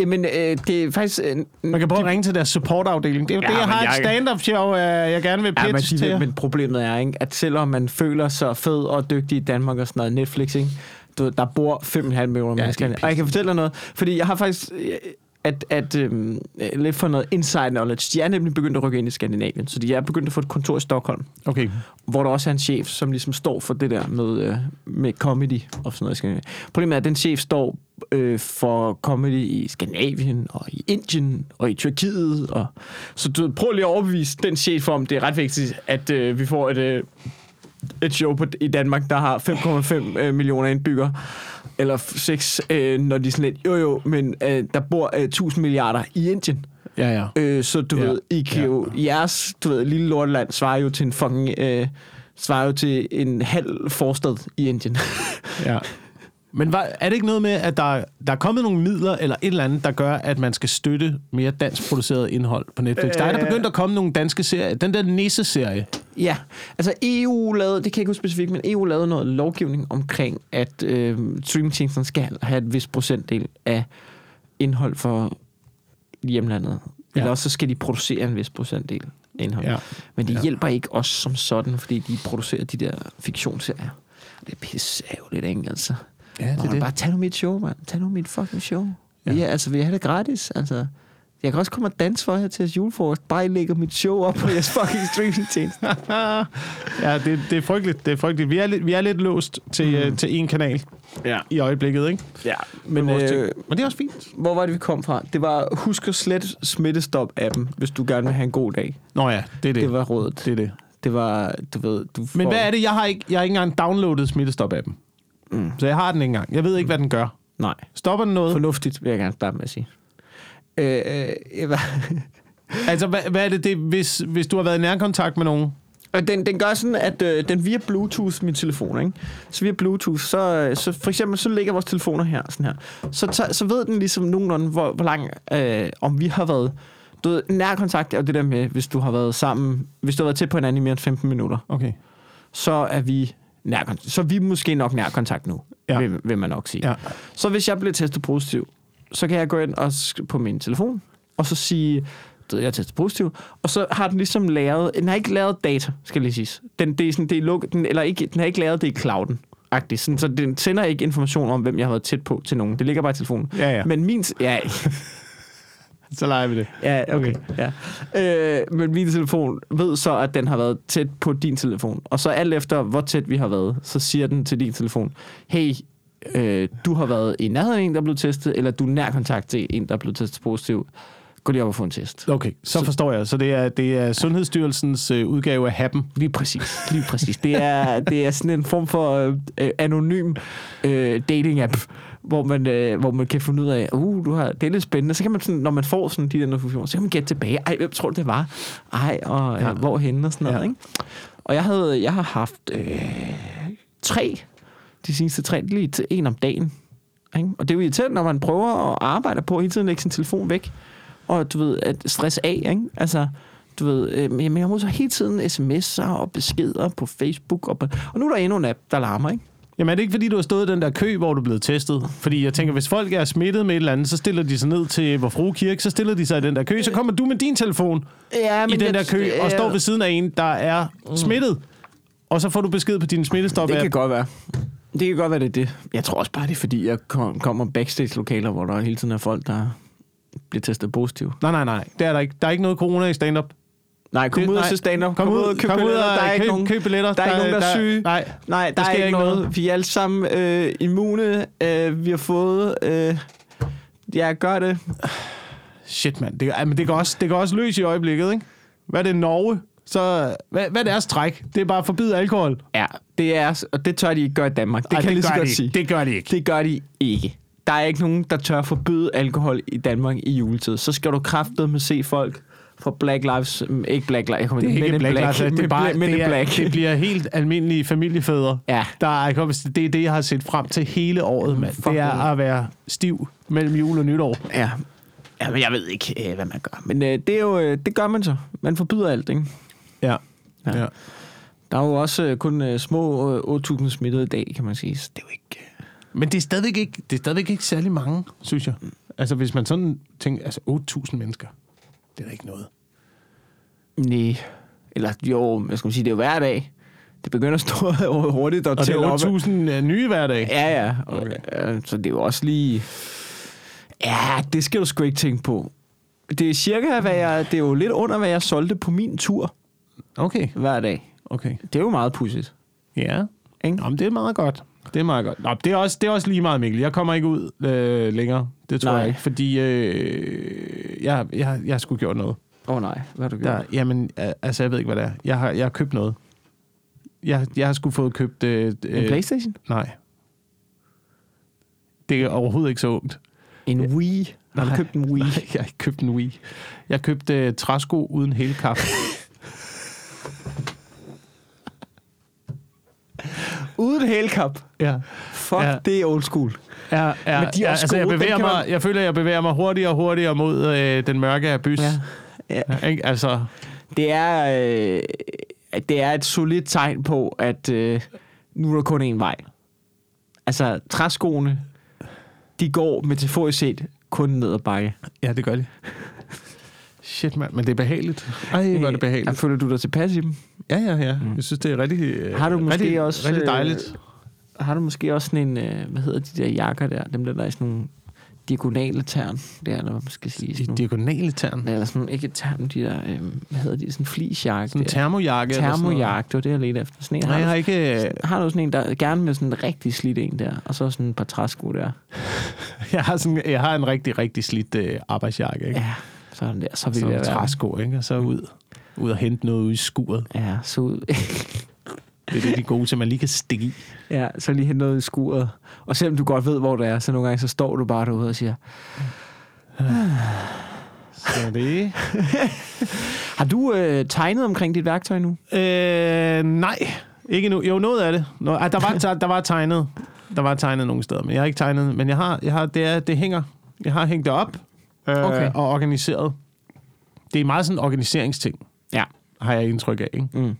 A: Jamen, øh, det er faktisk... Øh,
B: Man kan prøve at ringe til deres supportafdeling. Det er jo
A: Ja,
B: ja, det, jeg
A: men
B: har
A: jeg-
B: et stand-up show, øh, jeg gerne vil
A: Ja, men,
B: pitche ja,
A: de,
B: til.
A: ved-
B: jer.
A: men problemet er, ikke, at selvom man føler sig fed og dygtig i Danmark og sådan noget, Netflix, ikke, du, ved, der bor 5,5 millioner ja, mennesker.
B: det er
A: Og jeg kan fortælle dig noget, fordi jeg har faktisk... øh, At, at øhm, øh, lidt for noget inside knowledge. De er nemlig begyndt at rykke ind i Skandinavien, så de er begyndt at få et kontor i Stockholm,
B: Okay.
A: hvor der også er en chef, som ligesom står for det der med, øh, med comedy og sådan noget. i Skandinavien. Problemet er, at den chef står øh, for comedy i Skandinavien og i Indien og i Tyrkiet. Og, så du, ved, prøv lige at overbevise den chef om, det er ret vigtigt, at øh, vi får et, øh, et show på, i Danmark, der har 5,5 øh, millioner indbyggere. Eller 6, øh, når de er sådan lidt, jo jo, men øh, der bor øh, 1000 milliarder i Indien.
B: Ja, ja.
A: Øh, så du ja.
B: Ja.
A: ved, I kan
B: Ja.
A: jo, jeres du ved, lille lorteland svarer jo til en fucking, øh, svarer jo til en halv forstad i Indien.
B: ja. Men var, er det ikke noget med, at der, der er kommet nogle midler eller et eller andet, der gør, at man skal støtte mere dansk produceret indhold på Netflix? Øh, der er der
A: Øh.
B: begyndt at komme nogle danske serier. Den der Nisse-serie.
A: ja, altså EU lavede, det kan jeg ikke huske specifikt, men EU lavede noget lovgivning omkring, at øh, streamingtjenesten skal have et vis procentdel af indhold for hjemlandet. Ja.
B: Ja.
A: Eller også så skal de producere en vis procentdel af indhold. Ja.
B: Ja.
A: Men det ja.
B: Ja.
A: hjælper ikke os som sådan, fordi de producerer de der fiktionsserier. Det er pisse ærgerligt, ikke? Altså.
B: Ja,
A: Nå, det. bare tag nu mit show, mand. Tag nu mit fucking show. Ja.
B: Ja.
A: Vi, er, altså, vi har det gratis, altså. Jeg kan også komme og danse for jer til jeres julefrokost. Bare I lægger mit show op på jeres fucking streamingtjeneste.
B: ja, det, det er frygteligt. Det er frygteligt. Vi er lidt, vi er lidt låst til, mm. øh, til én kanal
A: Ja.
B: i øjeblikket, ikke?
A: ja.
B: Men,
A: Men øh,
B: Men det er også fint.
A: hvor var det, vi kom fra? Det var, husk at slet smittestop-appen, hvis du gerne vil have en god dag.
B: Nå ja, det er det.
A: Det var rådet.
B: det, er det.
A: Det var, du ved... Du får...
B: Men hvad er det? Jeg har ikke, jeg har ikke engang downloadet Smittestop-appen. Mm. Så jeg har den ikke engang. Jeg ved ikke, hvad den gør.
A: Nej.
B: Stopper den noget?
A: Fornuftigt, vil jeg gerne starte med at sige. Øh, øh, jeg var...
B: Altså, hvad, hvad er det, det hvis, hvis du har været i nærkontakt med nogen?
A: Og den, den gør sådan, at øh, den via Bluetooth, min telefon, ikke? Så via Bluetooth, så, øh, så for eksempel, så ligger vores telefoner her, sådan her. Så, tager, så ved den ligesom nogenlunde, hvor, hvor lang, øh, om vi har været... Du ved, nærkontakt er jo det der med, hvis du har været sammen, hvis du har været tæt på hinanden i mere end 15 minutter,
B: Okay.
A: så er vi nærkontakt. Så er vi måske nok nærkontakt nu, ja.
B: Ja.
A: vil, vil, man nok sige.
B: Ja.
A: Så hvis jeg bliver testet positiv, så kan jeg gå ind og sk- på min telefon, og så sige, du ved, jeg er testet positiv, og så har den ligesom lavet, den har ikke lavet data, skal lige siges. Den, det er sådan, det er luk, den, eller ikke, den har ikke lavet det i clouden. Agtigt. Sådan, så den sender ikke information om, hvem jeg har været tæt på til nogen. Det ligger bare i telefonen.
B: Ja, ja.
A: Men min... Ja,
B: Så leger vi det.
A: ja okay. Ja. Øh, men min telefon ved så, at den har været tæt på din telefon. Og så alt efter, hvor tæt vi har været, så siger den til din telefon, hey, øh, du har været i nærheden af en, der er blevet testet, eller du er nær kontakt til en, der er blevet testet positiv. Gå lige op og få en test.
B: Okay, så forstår jeg. Så det er, det er Sundhedsstyrelsens øh, udgave af happen.
A: Lige præcis, lige præcis. Det er, det er sådan en form for øh, øh, anonym øh, dating-app, hvor man, øh, hvor man kan finde ud af, uh, du har, det er lidt spændende. Så kan man sådan, når man får sådan de der notifikationer, så kan man gætte tilbage, ej, hvem tror du, det var? Ej, og øh, ja. hvorhenne og sådan noget,
B: Ja.
A: ikke? Og jeg, havde, jeg har haft øh, tre, de seneste tre, lige til en om dagen. Ikke? Og det er jo irriterende, når man prøver at arbejde på at hele tiden lægge sin telefon væk. Og du ved, at stress af, ikke? Altså, du ved, øh, men jeg modtager hele tiden sms'er og beskeder på Facebook. Og, på, og nu er der endnu en app, der larmer, ikke?
B: Jamen er det ikke, fordi du har stået i den der kø, hvor du er blevet testet? Fordi jeg tænker, hvis folk er smittet med et eller andet, så stiller de sig ned til vor frue kirke, så stiller de sig i den der kø, så kommer du med din telefon
A: Ja,
B: i den der kø og
A: øh.
B: står ved siden af en, der er smittet. Og så får du besked på din smittestop.
A: Det kan
B: app.
A: godt være. Det kan godt være, det er det. Jeg tror også bare, det er fordi, jeg kom- kommer backstage-lokaler, hvor der hele tiden er folk, der bliver testet positive.
B: Nej, nej, nej. Det er der ikke. Der er ikke noget corona i stand-up.
A: Nej, kom
B: Det-
A: ud og
B: nej.
A: se stand-up.
B: Kom, ud,
A: køb
B: kom ud
A: billetter.
B: og
A: Der er ikke
B: køb,
A: nogen,
B: køb billetter.
A: der er ikke nogen, der er syge.
B: Nej,
A: Nej, der
B: sker
A: er ikke
B: ikke
A: noget.
B: noget.
A: Vi er alle sammen øh, immune. Øh, vi har fået... Øh, ja, gør det.
B: Shit, mand. Det, men det, går også, det går også løs i øjeblikket, ikke? Hvad er det, Norge? Så, hvad, hvad er deres træk? Det er bare at forbyde alkohol. Det
A: Ja, det er... Og det tør de ikke gøre i Danmark. Det Ej, kan jeg lige så
B: gør de
A: godt
B: ikke.
A: sige.
B: Det gør de ikke.
A: Det gør de ikke. Der er ikke nogen, der tør forbyde alkohol i Danmark i juletid. Så skal du kraftedeme se folk fra Black Lives... mm, Ikke Black Lives... Jeg kommer
B: Det er
A: Men
B: ikke
A: in
B: Black, Lives Matter.
A: Men
B: det er bare,
A: Bla- Men in
B: det, er,
A: Black.
B: det bliver helt almindelige familiefædre.
A: Ja.
B: Der er, kommet- det er det, jeg har set frem til hele året, mand.
A: Fuck,
B: Det er
A: mand.
B: at være stiv mellem jul og nytår.
A: Ja. Ja, men jeg ved ikke, øh, hvad man gør. Men øh, det, er jo, øh, det gør man så. Man forbyder alt, ikke?
B: Ja.
A: Ja.
B: ja.
A: Der er jo også øh, kun øh, små øh, 8.000 smittede i dag, kan man sige. Så det er jo ikke...
B: Men det er, stadigvæk ikke, det er stadigvæk ikke særlig mange, synes jeg. Altså, hvis man sådan tænker, altså 8.000 mennesker, det er da ikke noget.
A: Nej. Eller jo, jeg skal sige, det er jo hver dag. Det begynder at stå hurtigt og,
B: Og det
A: tælle op.
B: er 8.000 øh, nye hver dag.
A: Ja, ja. Okay. Øh, Så det er jo også lige... Ja, det skal du sgu ikke tænke på. Det er cirka, hvad jeg... Det er jo lidt under, hvad jeg solgte på min tur
B: Okay,
A: hver dag.
B: okay.
A: Det er jo meget pudsigt.
B: Ja.
A: Ikke?
B: Nå, men det er meget godt. Det er meget godt. Nå, det er også, det er også lige meget, Mikkel. Jeg kommer ikke ud øh, længere. Det tror
A: Nej.
B: Nej. jeg ikke, fordi øh, jeg, jeg, jeg har sgu gjort noget.
A: Åh oh, nej, hvad har du gjort?
B: Der, jamen, øh, altså, jeg ved ikke, hvad det er. Jeg har, jeg har købt noget. Jeg, jeg har sgu fået købt... Øh,
A: En
B: øh,
A: Playstation?
B: Nej. Det er overhovedet ikke så ungt.
A: En Wii? Har du
B: Nej.
A: købt en Wii?
B: Nej, jeg har ikke købt en Wii. Jeg købte øh, træsko uden hele kaffe.
A: Uden hælkap.
B: ja.
A: Fuck,
B: Ja.
A: det er old school.
B: Ja, ja, ja,
A: Men de er også
B: altså, jeg,
A: gode. Den
B: bevæger
A: kan
B: mig,
A: man-
B: jeg føler, jeg bevæger mig hurtigere og hurtigere mod øh, den mørke af bys.
A: Ja.
B: Ja.
A: Ja.
B: Ja, ikke? Altså,
A: Det er, øh, det er et solidt tegn på, at øh, nu er der kun én vej. Altså, træskoene, de går metaforisk set kun ned ad bakke.
B: ja, det gør det. Shit, mand, men det er behageligt. Ej, hvor er det
A: Ja,
B: behageligt.
A: Øh, Føler du dig tilpas i dem?
B: Ja, ja, ja. Jeg synes, det er rigtig, øh,
A: Mm. Har du måske
B: rigtig,
A: også,
B: rigtig
A: øh,
B: dejligt.
A: Har du måske også sådan en, øh, hvad hedder de der jakker der? Dem der, der er sådan nogle diagonale tern. Det er, eller hvad man skal sige.
B: I
A: Sådan nogle,
B: diagonale tern.
A: eller sådan, ikke tern, de der, øh, hvad hedder de, sådan en flisjakke.
B: Sådan en termojakke. eller sådan noget.
A: termojakke, det var det, jeg ledte efter. Sådan en,
B: Nej,
A: har,
B: jeg
A: du,
B: har ikke... øh,
A: har du sådan en, der gerne med sådan en rigtig slidt en der, og så sådan et par træsko der.
B: Jeg har, sådan, jeg har en rigtig, rigtig slidt øh, arbejdsjakke, ikke?
A: Ja, sådan der. Mm. Så vil
B: så
A: det
B: nogle
A: være.
B: træsko, ikke? Og så ud, ud og hente noget ude i skuret.
A: Ja, så ud.
B: Det er det, de gode, som man lige kan stikke i.
A: ja, så lige hente noget i skuret. Og selvom du godt ved, hvor det er, så nogle gange, så står du bare derude og siger,
B: Så det...
A: har du øh, tegnet omkring dit værktøj nu?
B: Øh, nej, ikke nu. Jo, noget af det. Nå, ah, der, var, der, der var tegnet. Der var tegnet nogle steder, men jeg har ikke tegnet. Men jeg har, jeg har det, er, det hænger. Jeg har hængt det op øh,
A: Okay.
B: okay. og organiseret. Det er meget sådan en organiseringsting,
A: Ja.
B: har jeg indtryk af. Ikke?
A: Mm.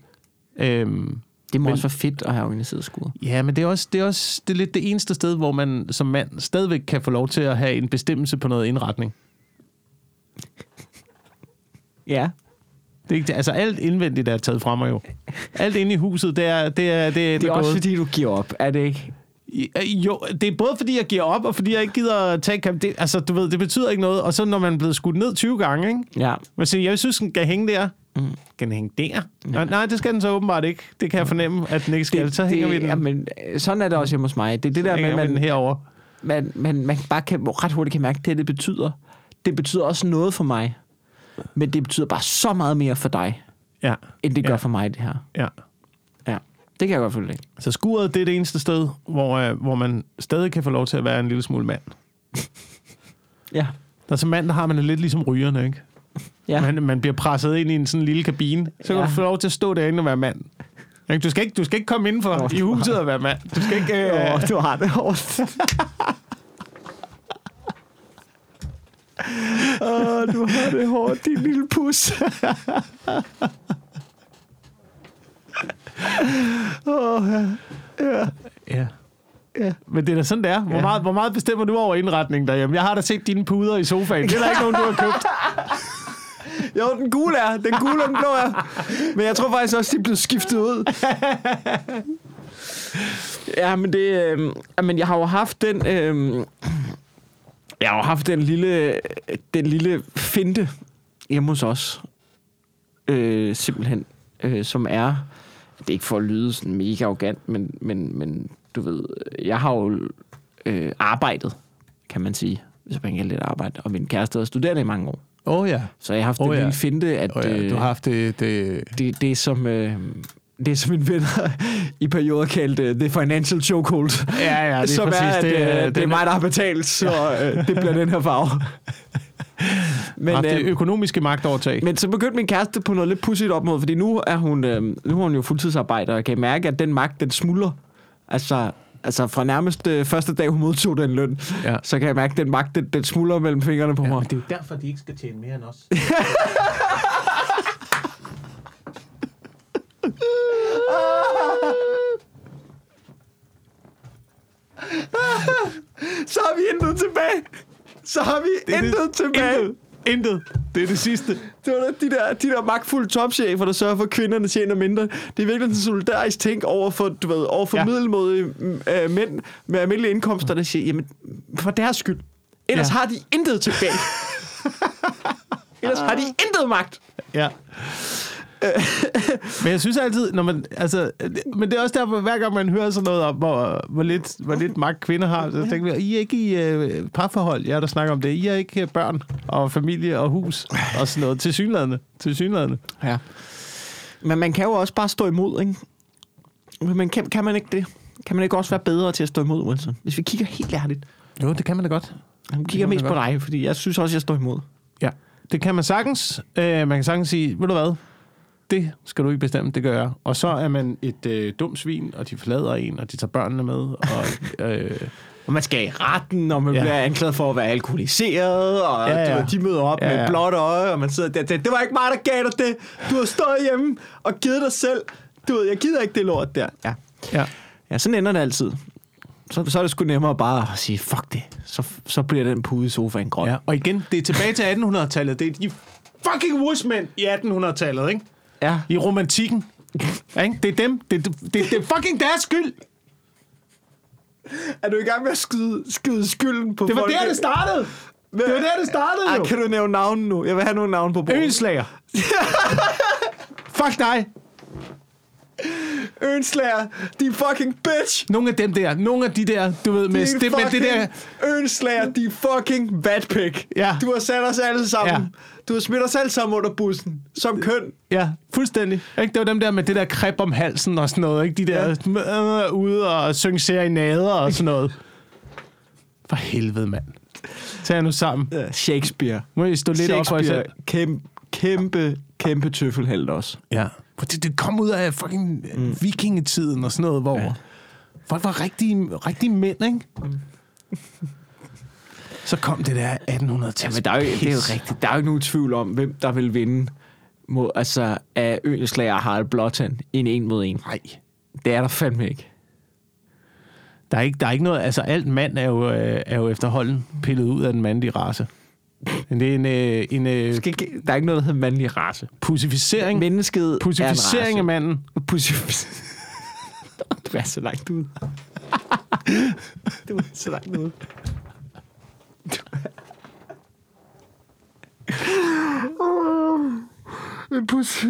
B: Øhm,
A: Det må
B: Men-
A: også være fedt at have organiseret skuret.
B: ja, men det er også, det er også det er lidt det eneste sted, hvor man som mand stadigvæk kan få lov til at have en bestemmelse på noget indretning.
A: Ja.
B: Det er ikke, altså alt indvendigt er taget fra mig jo. Alt inde i huset, det er det er det,
A: Det er også
B: gået.
A: fordi, du giver op, er det ikke?
B: Ja, øh, Jo, det er både fordi, jeg giver op, og fordi jeg ikke gider at tage kamp. Det, altså, du ved, det betyder ikke noget. Og så når man er blevet skudt ned 20 gange, ikke?
A: Ja.
B: Man siger, jeg synes, den kan hænge der.
A: Mm.
B: Kan den hænge der? Ja. Nej, det skal den så åbenbart ikke. Det kan jeg fornemme, at den ikke skal. Det, så hænger det, vi den, jamen,
A: Jamen, øh, sådan er det også hjemme hos mig. Det er det der med,
B: hænger
A: at
B: vi den
A: man,
B: herover.
A: man, man, man bare kan, ret hurtigt kan mærke, at det, det betyder. Det betyder også noget for mig. Men det betyder bare så meget mere for dig,
B: Ja,
A: end det gør
B: Ja.
A: for mig, det her.
B: ja.
A: Ja. Det kan jeg godt følge dig. i.
B: Så skuret, det er det eneste sted, hvor, øh, hvor man stadig kan få lov til at være en lille smule mand.
A: Ja.
B: Der som mand, der har man det lidt ligesom rygerne, ikke?
A: Ja.
B: Man, man bliver presset ind i en sådan lille kabine. Så kan
A: Ja.
B: ja. du få lov til at stå derinde og være mand. Ikke? Du skal ikke, du skal ikke komme indenfor
A: Nå,
B: i huset og være mand. Du skal ikke... Øh,
A: Åh, du har det hårdt. Åh, du har det hårdt, din lille pus.
B: ja.
A: Ja.
B: Men det er da sådan, det er. Hvor,
A: Ja.
B: meget, hvor meget bestemmer du over indretningen derhjemme? Jeg har da set dine puder i sofaen. Det er der ikke nogen, du har købt.
A: Jo, den gule er. Den gule og den blå er. Men jeg tror faktisk også, de er blevet skiftet ud. Ja, men det... Øh, men jeg har jo haft den... Øh, jeg har jo haft den lille, den lille finte hjemme hos os. Øh, simpelthen. Øh, som er... Det er ikke for at lyde sådan mega arrogant, men, men, men du ved... Jeg har jo øh, arbejdet, kan man sige. Hvis man kan lidt arbejde. Og min kæreste har været studerende i mange år.
B: Åh oh, ja.
A: Så jeg har haft oh,
B: Åh,
A: den
B: ja.
A: lille finte, at
B: Oh, ja.
A: øh,
B: Du har haft det... det...
A: det, det, er som, øh, det er som en venner i perioder kaldte øh, The Financial Chokehold.
B: Ja, ja, det er
A: som
B: præcis.
A: er, at,
B: det,
A: øh,
B: er-
A: det, det er
B: er-
A: mig, der har betalt, så øh, det bliver den her farve. Men,
B: haft Ah, det
A: øh,
B: økonomiske magtovertag.
A: men så begyndte min kæreste på noget lidt pudsigt op mod, fordi nu er hun, øh, nu er hun jo fuldtidsarbejder, og kan mærke, at den magt, den smuldrer. Altså, altså fra nærmest øh, første dag, hun modtog den løn,
B: Ja.
A: så kan jeg mærke, at den magt, den, den smuldrer mellem fingrene på mig.
B: det er jo derfor, de ikke skal tjene mere end os.
A: Så har vi intet tilbage. så har vi
B: Det-
A: intet tilbage.
B: Intet. Intet. Det er det sidste.
A: Det var da de der, de der magtfulde topchefer, der sørger for, at kvinderne tjener mindre. Det er virkelig en solidarisk tænk over for, du ved, over for
B: Ja.
A: ja. middelmodige mm, øh, mænd med almindelige indkomster, der siger, jamen, for deres skyld. Ellers
B: Ja.
A: ja. har de intet tilbage. Ellers har de intet magt.
B: Ja. men jeg synes altid, når man, altså, det- men det er også derfor, hver gang man hører sådan noget om, hvor, hvor, lidt, hvor lidt magt kvinder har, så tænker vi, I er ikke i øh, parforhold, jeg der snakker om det. I er ikke øh, børn og familie og hus og sådan noget. Til synlædende. Til synlædende.
A: Ja. Men man kan jo også bare stå imod, ikke? Men man kan, kan man ikke det? Kan man ikke også være bedre til at stå imod, Wilson? Hvis vi kigger helt ærligt.
B: Jo, det kan man da godt.
A: Nu
B: kan
A: kigger
B: man
A: mest
B: da
A: på dig, fordi jeg synes også, jeg står imod.
B: Ja. Det kan man sagtens. Øh, man kan sagtens sige, ved du hvad, det skal du ikke bestemme, det gør jeg. Og så er man et øh, dumt svin, og de forlader en, og de tager børnene med, og... Øh,
A: Og man skal i retten, og man
B: Ja.
A: ja. bliver anklaget for at være alkoholiseret, og
B: Ja,
A: ja,
B: ja.
A: ja. Du, ved, de møder op
B: Ja,
A: ja, ja.
B: ja.
A: med blåt øje, og man sidder der og tænker, det var ikke mig, der gav dig det. Du har stået hjemme og givet dig selv. Du ved, jeg gider ikke det lort der. Ja,
B: ja.
A: ja sådan ender det altid. Så, så er det sgu nemmere bare at sige, fuck det. Så, så bliver den pude i sofaen grøn.
B: Ja, og igen, det er tilbage til 1800-tallet. Det er de fucking woodsmænd i 1800-tallet, ikke?
A: ja.
B: I romantikken. Ja, ikke? Det er dem. Det, det, det, det er fucking deres skyld.
A: Er du i gang med at skyde, skyde skylden på
B: Det var
A: folk?
B: der, det startede.
A: Hvad-
B: Det var der, det startede
A: Ej,
B: jo.
A: kan du nævne navnen nu? Jeg vil have nogle navne på bordet.
B: Ønslager. Fuck dig.
A: Ønslager, de fucking bitch.
B: Nogle af dem der. Nogle af de der, du ved, med,
A: Din
B: det, med det der.
A: Ønslager, de fucking vatpik.
B: Ja.
A: Du har sat os alle sammen.
B: Ja.
A: Du har smidt os alle sammen under bussen. Som køn.
B: Ja, fuldstændig. Ikke? Det var dem der med det der kreb om halsen og sådan noget. Ikke? De der øh, ude og synge serenader og sådan noget. For helvede, mand. Tag nu sammen.
A: Shakespeare.
B: Må I stå lidt op for jer selv.
A: Kæmpe, kæmpe, kæmpe tøffelhelt også.
B: Ja. For det, det kom ud af fucking mm. vikingetiden og sådan noget, hvor ja.
A: Ja.
B: folk var rigtige, rigtige mænd, ikke? Mm. Så kom det der 1800-tal.
A: Men der er jo, det er jo rigtigt. Der er jo ikke nogen tvivl om, hvem der vil vinde mod, altså, af Ønslager og Harald Blåtand en en mod en.
B: Nej.
A: Det er der fandme ikke.
B: Der er, ikke, der er ikke noget... Altså, alt mand er jo, øh, er jo efterhånden pillet ud af den mandlige race. Men Det er en, øh, en øh,
A: Skal ikke- Der er ikke noget, der hedder mandlig race.
B: pussificering,
A: Mennesket
B: pussificering
A: er
B: af
A: en race.
B: manden.
A: Pussificering. du er så langt ude. du er så langt ude. En pussy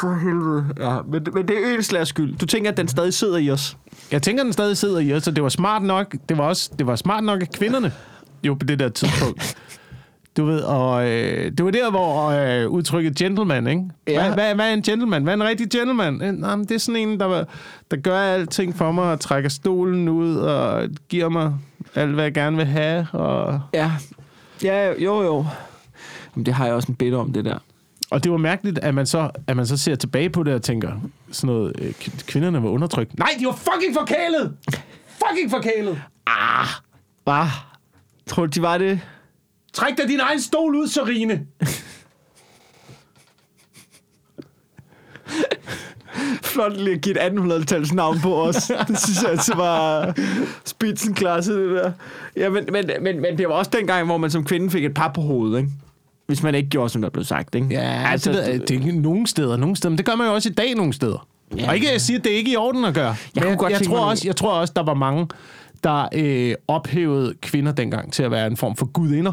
A: for helvede. Ja, men, men det er Ønslagers skyld. Du tænker, at den stadig sidder i os.
B: Jeg tænker, den stadig sidder i os, så det var smart nok. Det var også det var smart nok af kvinderne, jo på det der tidspunkt. Du ved, og øh, det var der, hvor øh, udtrykket gentleman, ikke? Ja.
A: Ja.
B: Hvad, hvad, hvad er en gentleman? Hvad er en rigtig gentleman? Øh, nej, men det er sådan en, der, der gør alting for mig, og trækker stolen ud, og giver mig alt, hvad jeg gerne vil have. Og,
A: Ja. Ja, jo, jo. Men det har jeg også en bid om, det der.
B: og det var mærkeligt, at man, så, at man så ser tilbage på det og tænker, sådan noget, øh, kv- kvinderne var undertrykt. Nej, de var fucking forkælet! Fucking forkælet!
A: Ah, hvad? Tror du, de var det?
B: Træk dig din egen stol ud, Serine!
A: flot lige at give et 1800-tals navn på os. Det synes jeg altså var spitsenklasse, det der. Ja, men, men, men, men det var også dengang, hvor man som kvinde fik et par på hovedet, ikke? Hvis man ikke gjorde, som der blev sagt, ikke?
B: Ja, altså, det, ved, jeg, det er ikke nogle steder, nogle steder. Men det gør man jo også i dag nogle steder. Ja,
A: Ja.
B: og ikke at sige, at det er ikke i orden at gøre. Men
A: kunne godt
B: jeg,
A: tænke
B: tror
A: mig-
B: også, jeg tror også, der var mange, der øh, ophævede kvinder dengang til at være en form for gudinder.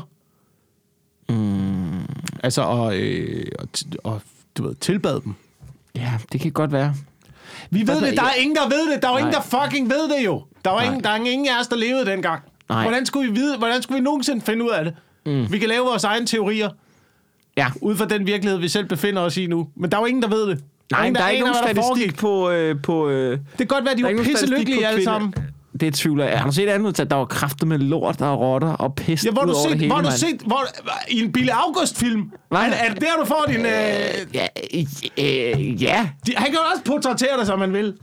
B: Mm. Altså, og, øh, og, t- og du ved, tilbad dem.
A: ja, det kan godt være.
B: Vi ved
A: Altså,
B: det, der er
A: jeg-
B: ingen, der ved det. Der er jo ingen,
A: Nej.
B: der fucking ved det jo. Der var
A: Nej.
B: ingen, der er ingen af os, der levede dengang.
A: Nej.
B: Hvordan skulle vi vide, hvordan skulle vi nogensinde finde ud af det? Mm. Vi kan lave vores egne teorier.
A: Ja.
B: ud fra den virkelighed, vi selv befinder os i nu. Men der er jo ingen, der ved det.
A: Nej, der er ikke
B: aner,
A: nogen
B: hvad der foregik.
A: statistik på... Øh, på øh,
B: Det kan godt være, de
A: der er
B: var
A: ikke nogen
B: pisse
A: statistik på
B: lykkelige alle
A: kvinde-
B: sammen.
A: Det tvivler jeg. Har du set andet? at Der var kræfter med lort og rotter og pest
B: Ja, hvor
A: ud
B: du
A: over det
B: set,
A: hele,
B: hvor du
A: mand.
B: set, hvor, i en Bille August-film. Er,
A: Nej.
B: er det der, du får din... Øh,
A: Ja, øh, ja.
B: de, han kan jo også portrættere dig, som han vil.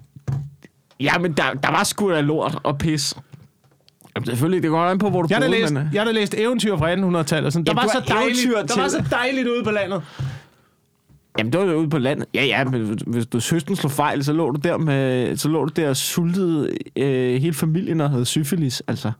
A: ja, men der, der var sgu da lort og pis. Jamen, selvfølgelig, det går an på, hvor du
B: Jeg har da
A: boede,
B: læst,
A: men, øh.
B: jeg har da læst eventyr fra 1800-tallet. og Sådan. Der,
A: Ja,
B: var
A: du
B: så
A: er
B: dejligt,
A: eventyr
B: der var så
A: til-
B: dejligt ude på landet.
A: Jamen, det var jo ude på landet. Ja, ja, men hvis du søsten slog fejl, så lå du der, med, så lå du der og sultede øh, hele familien og havde syfilis, altså.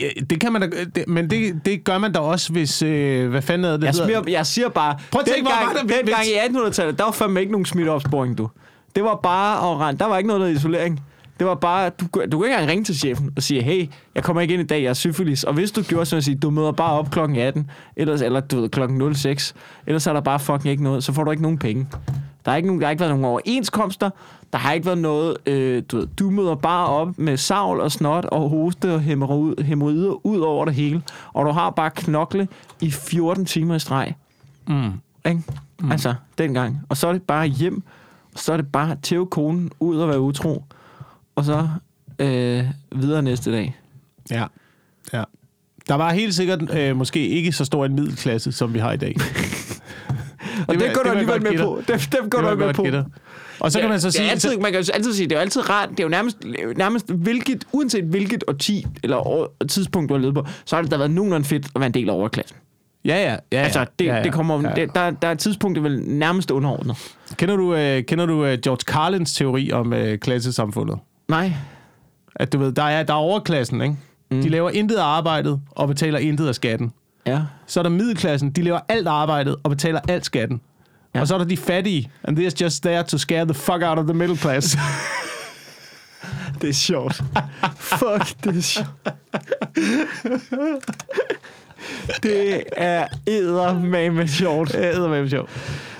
B: Ja, det kan man da, det, men det, det gør man da også, hvis... Øh, hvad fanden er det, det
A: Jeg,
B: hedder?
A: smider, Altså, jeg siger bare,
B: Prøv at tænke, hvor
A: dengang,
B: var der-
A: dengang i 1800-tallet, der var fandme ikke nogen smitteopsporing, du. Det var bare at rende. Der var ikke noget der isolering. Det var bare, du, kunne- du kunne ikke engang ringe til chefen og sige, hey, jeg kommer ikke ind i dag, jeg er syfilis. Og hvis du gjorde sådan at sige, du møder bare op klokken 18, ellers, eller du ved, klokken 06, ellers er der bare fucking ikke noget, så får du ikke nogen penge. Der har ikke, nogen, der har ikke været nogen overenskomster, der har ikke været noget, øh, du ved, du møder bare op med savl og snot og hoste og hemorrhoid- hemorrider ud over det hele, og du har bare knokle i 14 timer i streg.
B: Mm.
A: Ikke? Mm. Altså, dengang. Og så er det bare hjem, og så er det bare tæve konen ud og være utro, og så øh, videre næste dag.
B: Ja. ja. Der var helt sikkert øh, måske ikke så stor en middelklasse, som vi har i dag.
A: Og det,
B: vil-
A: det går
B: det
A: du
B: vil
A: alligevel
B: jeg godt
A: med
B: give
A: på. Dem, dem går
B: Det
A: du
B: var jeg
A: alligevel
B: godt
A: på.
B: gætte. Og så kan man så
A: det
B: sige...
A: er altid, man kan jo altid sige, det er jo altid rart, det er jo nærmest, nærmest hvilket, uanset hvilket årti eller år, tidspunkt, du har levet på, så har det da været nogenlunde fedt at være en del af overklassen.
B: Ja, ja, ja, ja.
A: Altså, det,
B: ja,
A: ja,
B: ja.
A: det kommer,
B: Ja, ja.
A: Det, der, der er tidspunktet vel nærmest underordnet.
B: Kender du, øh, kender du øh, George Carlins teori om øh, klassesamfundet?
A: Nej,
B: At du ved, der er, der er overklassen, ikke? Mm. De laver intet af arbejdet og betaler intet af skatten.
A: ja.
B: Så er der middelklassen, de laver alt arbejdet og betaler alt skatten. Ja.
A: Ja.
B: Og så er der de fattige, and they're just there to scare the fuck out of the middle class.
A: Det er sjovt. Fuck, det er sjovt. Det er eddermame sjovt.
B: det er sjovt.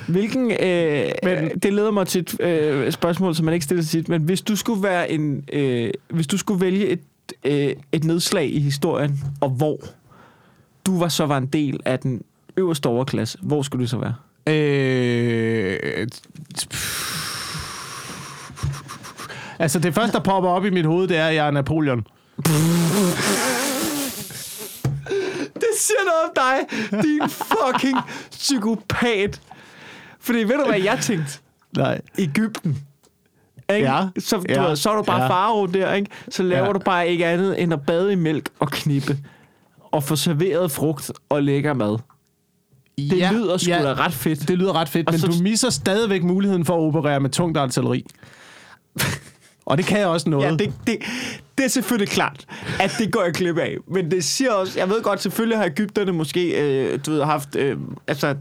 A: Hvilken, øh,
B: Men-
A: men, det leder mig til et øh, spørgsmål, som man ikke stiller sig tit, men hvis du skulle, være en, øh, hvis du skulle vælge et, øh, et nedslag i historien, og hvor du var så var en del af den øverste overklasse, hvor skulle du så være?
B: Øh, altså det første, der popper op i mit hoved, det er, at jeg er Napoleon.
A: Det siger noget om dig, din fucking psykopat. Fordi ved du, hvad jeg tænkte?
B: Nej.
A: Ægypten. Ikke?
B: Ja,
A: Så, du
B: ja,
A: ved, så er du bare
B: ja.
A: ja. faro der, ikke? Så laver
B: Ja.
A: ja. du bare ikke andet end at bade i mælk og knippe. Og få serveret frugt og lækker mad. Det ja, lyder sgu ja. da ret fedt.
B: Det lyder ret fedt,
A: Og
B: men
A: så-
B: du misser stadigvæk muligheden for at operere med tungt artilleri. Og det kan jeg også noget.
A: Ja, det, det, det er selvfølgelig klart, at det går jeg klip af. Men det siger også, jeg ved godt, selvfølgelig har Ægypterne måske øh, du ved, haft... Øh, altså,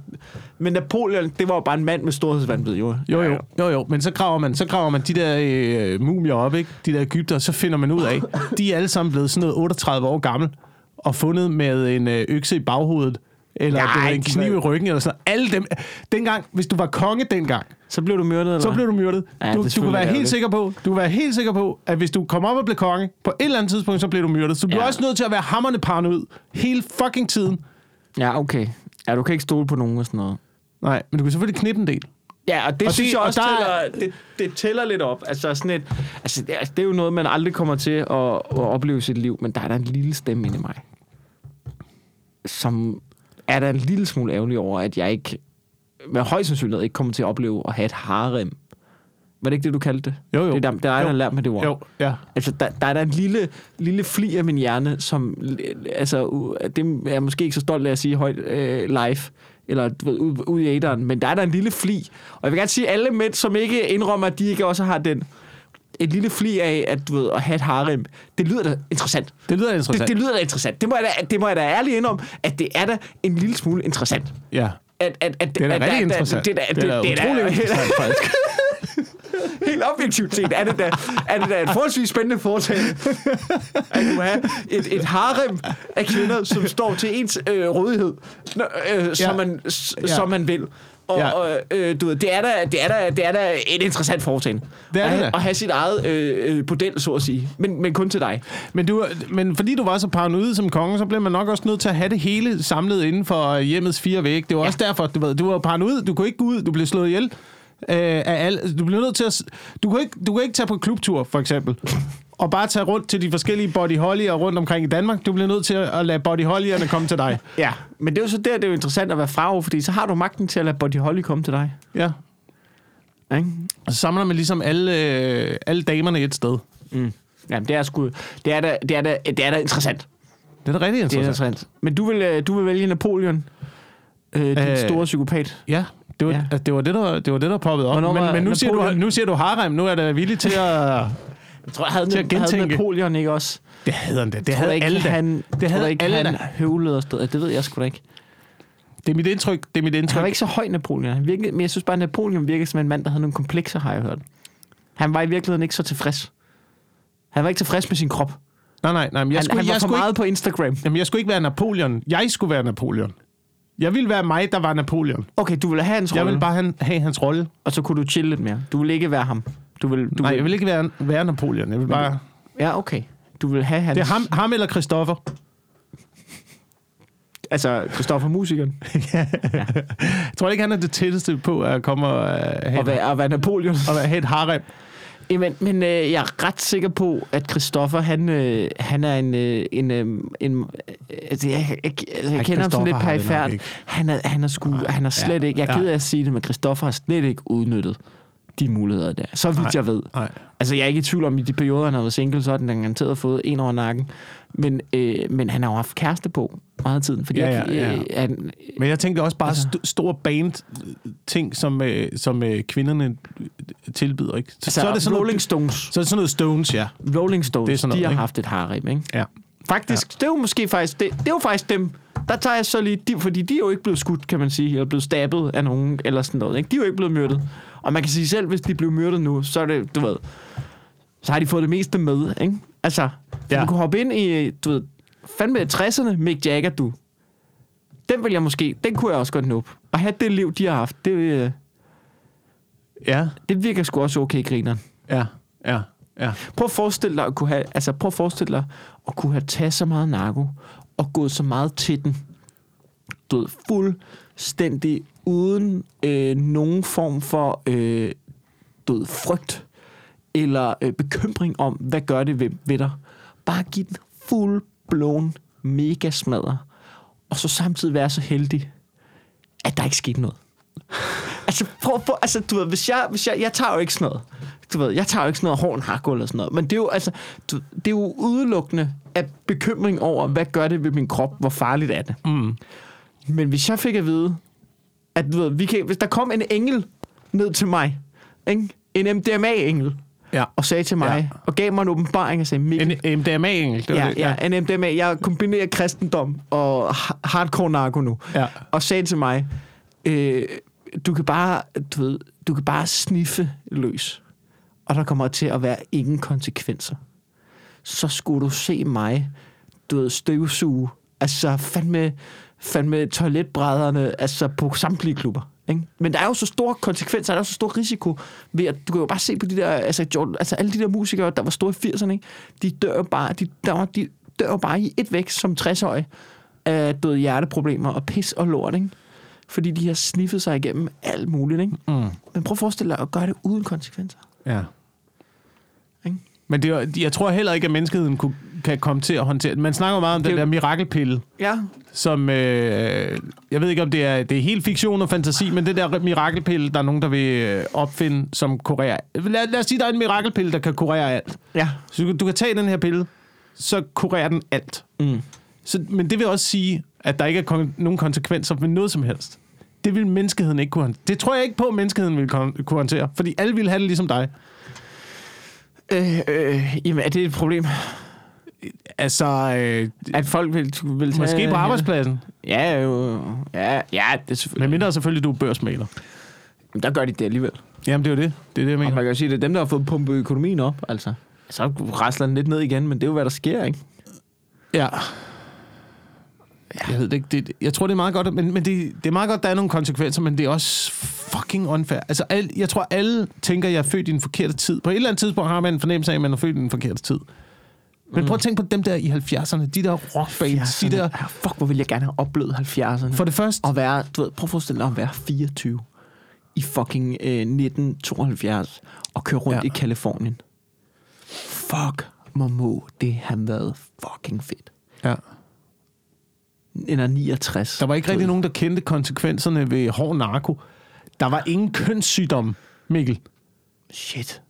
A: men Napoleon, det var jo bare en mand med storhedsvandvid, jo.
B: Jo, jo, jo, jo, men så graver man, så graver man de der øh, mumier op, ikke? de der Ægypter, så finder man ud af, de er alle sammen blevet sådan noget 38 år gammel, og fundet med en øh, økse i baghovedet, eller
A: Nej,
B: Nej, en
A: de
B: kniv
A: var-
B: i ryggen, eller sådan noget. Alle dem, dengang, hvis du var konge dengang,
A: Så blev du myrdet, eller
B: så blev du myrdet.
A: Ja, det er
B: du, du, kunne
A: selvfølgelig
B: være helt
A: ærgerligt.
B: sikker på, du kunne være helt sikker på, at hvis du kom op og blev konge, på et eller andet tidspunkt, så blev du myrdet. Så du bliver
A: Ja.
B: også nødt til at være hammerne paranoid hele fucking tiden.
A: Ja, okay. Ja, du kan ikke stole på nogen og sådan noget.
B: Nej, men du kan selvfølgelig knippe en del.
A: Ja, og det
B: Og
A: og synes
B: det-
A: det, jeg
B: og
A: også
B: der er-
A: tæller, det, det tæller lidt op. Altså, sådan et, altså det, er- det er jo noget, man aldrig kommer til at, at opleve i sit liv, men der er der en lille stemme inde i mig, som er der en lille smule ærgerlig over, at jeg ikke, med høj sandsynlighed ikke kommer til at opleve at have et harem. Var det ikke det, du kaldte det?
B: Jo, jo.
A: Det er der, der er
B: Jo.
A: der har lært mig det ord.
B: Jo, ja.
A: Altså, der, der er der en lille, lille fli af min hjerne, som... Altså, u- det er jeg måske ikke så stolt af at sige højt øh, live, eller du ved, ude ud i æderen, men der er der en lille fli. Og jeg vil gerne sige, at alle mænd, som ikke indrømmer, at de ikke også har den... Et lille fli af, at du ved, at have et harem, det lyder da interessant.
B: Det lyder interessant.
A: Det, det lyder da interessant. Det må, jeg da, det må jeg da ærligt indrømme, at det er da en lille smule interessant.
B: Ja.
A: At, at, at,
B: Det er da
A: at,
B: rigtig
A: at-
B: interessant.
A: Det, er da- det, det, det,
B: er da utroligt interessant, faktisk.
A: Helt objektivt set er det da, er det da et forholdsvis spændende foretagende, at du har et, et harem af kvinder, som står til ens øh, rådighed, Nå, øh, som,
B: Ja.
A: ja. man, s-
B: Ja.
A: som man vil. Og,
B: Ja.
A: ja. og øh, du ved, det er, da, det, er da, det er da et interessant foretagende.
B: Det er
A: at,
B: det da.
A: At have sit eget øh, øh, bordel, så at sige. Men, men kun til dig.
B: Men, du, men fordi du var så paranoid som konge, så blev man nok også nødt til at have det hele samlet inden for hjemmets fire vægge. Det var ja. også derfor, du, ved, du var paranoid, du kunne ikke gå ud, du blev slået ihjel. Øh, af al, du blev nødt til at... s- Du kunne, ikke, du kunne ikke tage på klubtur, for eksempel. Og bare tage rundt til de forskellige Body Holly'er rundt omkring i Danmark. Du bliver nødt til at lade Body Holly'erne komme til dig.
A: Ja. Men det er jo så der, det er jo interessant at være fra, fordi så har du magten til at lade Buddy Holly komme til dig.
B: Ja.
A: Ikke?
B: Og så samler man ligesom alle, øh, alle damerne et sted.
A: Mm. Jamen, det er sgu... Det er da, det er da, det er da interessant.
B: Det er da rigtig
A: Det er
B: interessant.
A: interessant. Men du vil, øh, du vil vælge Napoleon, øh, din
B: Øh,
A: øh, store psykopat.
B: Ja, det var,
A: Ja.
B: ja. Det, var det, der, det var det, der poppede op.
A: Hvornår
B: Men,
A: var
B: men nu, siger du,
A: Napoleon-
B: nu siger du harem, nu er der villig til at...
A: Jeg tror, jeg havde,
B: Til at
A: den, havde
B: gentænke.
A: Napoleon ikke også.
B: Det havde han da. Det
A: Tror du
B: havde
A: ikke,
B: alle da.
A: han,
B: det havde
A: ikke,
B: alle
A: han
B: da.
A: høvlede og stod. Det ved jeg sgu da ikke.
B: Det er mit indtryk. Det er mit
A: Han
B: indtryk.
A: var ikke så høj Napoleon. Han virkede, men jeg synes bare, at Napoleon virkede som en mand, der havde nogle komplekser, har jeg hørt. Han var i virkeligheden ikke så tilfreds. Han var ikke tilfreds med sin krop. Han,
B: Nej, nej, nej. Men jeg, skulle,
A: han var
B: jeg,
A: for
B: skulle
A: meget
B: ikke,
A: ikke... på Instagram.
B: jamen, jeg skulle ikke være Napoleon. Jeg skulle være Napoleon. Jeg ville være mig, der var Napoleon.
A: Okay, du ville have hans
B: Jeg
A: rolle,
B: ville
A: bare...
B: bare han, have hans rolle.
A: og så kunne du chille lidt mere. Du ville ikke være ham. Du ville, du
B: Nej,
A: ville...
B: jeg vil ikke være, være Napoleon. Jeg vil bare...
A: Ja, okay. Du ville have hans...
B: Det er ham, ham eller Christoffer.
A: Altså, Christoffer Musikeren.
B: Jeg tror ikke, han er det tætteste på at komme og øh, have,
A: og, være, og være Napoleon.
B: og have et harem.
A: Jamen, men øh, jeg er ret sikker på, at Christoffer, han, øh, han er en... Øh, en, øh, en øh, altså, jeg, jeg, jeg, altså, jeg kender ham sådan lidt
B: Christoffer har det nok
A: perifært.
B: ikke. Ah,
A: Han er, han er, sku, han er slet
B: ja,
A: ja, ikke... Jeg er
B: ja.
A: ked af at sige det, men Christoffer har slet ikke udnyttet de muligheder der. Så vidt
B: Nej,
A: nej, jeg ved.
B: nej.
A: Altså, jeg er ikke i tvivl om, i de perioder, han har været single, så har den garanteret fået en over nakken. Men, øh, men han har jo haft kæreste på meget af tiden, fordi
B: Ja,
A: ja,
B: ja,
A: ja,
B: ja.
A: Øh, han,
B: Men jeg tænker også
A: Altså.
B: bare st- store band-ting, som, øh, som øh, kvinderne øh, tilbyder. Ikke? Så,
A: altså,
B: så, er det sådan
A: Rolling
B: noget,
A: Stones.
B: så er det sådan noget Stones, ja.
A: Rolling Stones,
B: Det
A: det
B: er
A: er
B: sådan noget,
A: de har
B: ikke?
A: haft et harem, ikke?
B: ja.
A: Faktisk, ja. det er jo måske faktisk, det, det er jo faktisk dem, der tager jeg så lige, de, fordi de er jo ikke blevet skudt, kan man sige, eller blevet stabbet af nogen, eller sådan noget, ikke? De er jo ikke blevet myrdet. Og man kan sige selv, hvis de blev myrdet nu, så er det, du ved, så har de fået det meste med, ikke? Altså,
B: Ja.
A: ja. du kunne hoppe ind i, du ved, fandme i 60'erne, Mick Jagger, du. Den vil jeg måske, den kunne jeg også godt nå op. Og have det liv, de har haft, det, øh,
B: Ja,
A: det virker sgu også okay, griner.
B: ja, ja, ja.
A: Prøv at forestille dig at kunne have, altså prøv at forestille dig at kunne have taget så meget narko og gået så meget til den. Du ved, fuldstændig uden øh, nogen form for øh, du ved, frygt eller øh, bekymring om, hvad gør det ved, ved dig. Bare give den fuld blown mega smadder, og så samtidig være så heldig, at der ikke skete noget. Altså, prøv, prøv, altså du ved, hvis jeg, hvis jeg, jeg tager jo ikke sådan noget. Du ved, jeg tager jo ikke sådan noget hården hakgulv eller sådan noget. Men det er jo, altså, du, det er jo udelukkende af bekymring over, hvad gør det ved min krop? Hvor farligt er det?
B: Mm.
A: Men hvis jeg fik at vide, at du ved, vi kan, hvis der kom en engel ned til mig, ikke? en MDMA-engel,
B: ja.
A: og sagde til mig,
B: Ja.
A: ja. og gav mig en åbenbaring og sagde, Mikkel,
B: En MDMA-engel. det var
A: Ja,
B: det.
A: ja, en MDMA. Jeg kombinerer kristendom og ha- hardcore narko nu.
B: Ja.
A: Og sagde til mig, øh, du kan bare, du ved, du kan bare sniffe løs. Og der kommer til at være ingen konsekvenser. Så skulle du se mig, du ved, støvsuge. Altså fandme, fandme toiletbrædderne, altså på samtlige klubber. Ikke? Men der er jo så store konsekvenser, der er så stor risiko ved, at du kan jo bare se på de der, altså, Jordan, altså alle de der musikere, der var store i 80'erne, ikke? de dør jo bare, de, der var, de dør jo bare i et væk som 60-årige af døde hjerteproblemer og pis og lort, ikke? Fordi de har sniffet sig igennem alt muligt, ikke?
B: Mm.
A: Men prøv at forestille dig at gøre det uden konsekvenser.
B: Ja.
A: Ikke?
B: Men det, er jo- jeg tror heller ikke, at menneskeheden kunne, kan komme til at håndtere det. Man snakker jo meget om den
A: Det er
B: der
A: jo-
B: mirakelpille,
A: Ja.
B: som... Øh, jeg ved ikke, om det er, det er helt fiktion og fantasi, men det der mirakelpille, der er nogen, der vil øh, opfinde, som kurerer... Lad, lad os sige, der er en mirakelpille, der kan kurere alt.
A: Ja.
B: Så du, du kan tage den her pille, så kurerer den alt.
A: Mm.
B: Så, men det vil også sige, at der ikke er kon- nogen konsekvenser ved noget som helst. Det vil menneskeheden ikke kunne håndtere. Det tror jeg ikke på, at menneskeheden vil kon- kunne håndtere. Fordi alle vil have det ligesom dig.
A: Øh, øh, jamen, er det et problem?
B: Altså, øh,
A: At folk vil, vil tage...
B: måske på arbejdspladsen.
A: Ja, jo. Ja, ja, det er selvfølgelig.
B: Men mindre selvfølgelig, du er børsmaler.
A: Men der gør de det alligevel.
B: Jamen, det er jo det. Det er det, jeg
A: Og
B: mener.
A: man kan jo sige, at det er dem, der har fået pumpet økonomien op, altså. Så rasler den lidt ned igen, men det er jo, hvad der sker, ikke?
B: Ja. Jeg ved det ikke. Det, jeg tror, det er meget godt, men, men det, det er meget godt, der er nogle konsekvenser, men det er også fucking unfair. Altså, al, jeg tror, alle tænker, at jeg er født i en forkerte tid. På et eller andet tidspunkt har man en fornemmelse af, at man er født i en forkerte tid. Men prøv at tænke på dem der i 70'erne, de der rockbands, de der...
A: Ah, fuck, hvor ville jeg gerne have oplevet 70'erne.
B: For det første,
A: at være, du ved, prøv at forestille dig at være 24 i fucking øh, 1972 og køre rundt
B: Ja.
A: ja. i Kalifornien. Fuck, må må det have været fucking fedt.
B: ja.
A: Eller 69.
B: der var ikke rigtig nogen, der kendte konsekvenserne ved hård narko. Der var ingen kønssygdom, Mikkel.
A: Shit.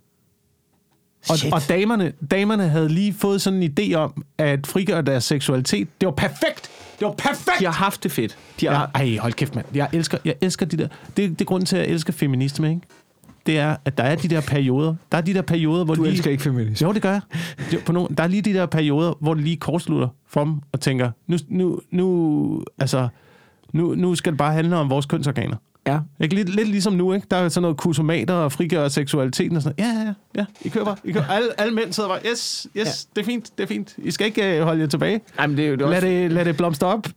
B: Og,
A: Shit.
B: og damerne, damerne havde lige fået sådan en idé om, at frigøre deres seksualitet. Det var perfekt! Det var perfekt!
A: de har haft det fedt. De har,
B: Ja. Ej, hold kæft, mand. Jeg elsker, jeg elsker de der... Det, det er grunden til, at jeg elsker feminisme, ikke? det er, at der er de der perioder. Der er de der perioder, hvor
A: Du
B: lige...
A: elsker ikke feminisme.
B: Jo, det gør jeg. Jo, på nogle, der er lige de der perioder, hvor det lige kortslutter for dem og tænker, nu, nu, nu, altså, nu, nu skal det bare handle om vores kønsorganer.
A: Ja.
B: Ikke? Lidt, lidt ligesom nu, ikke? Der er sådan noget kusomater og frigør seksualiteten og sådan noget. Ja, ja, ja. I kører bare. I kører. Alle, alle mænd sidder bare, yes, yes, ja. det er fint, det er fint. I skal ikke øh, holde jer tilbage.
A: Jamen, det er jo det
B: Lad det, lad det blomstre op.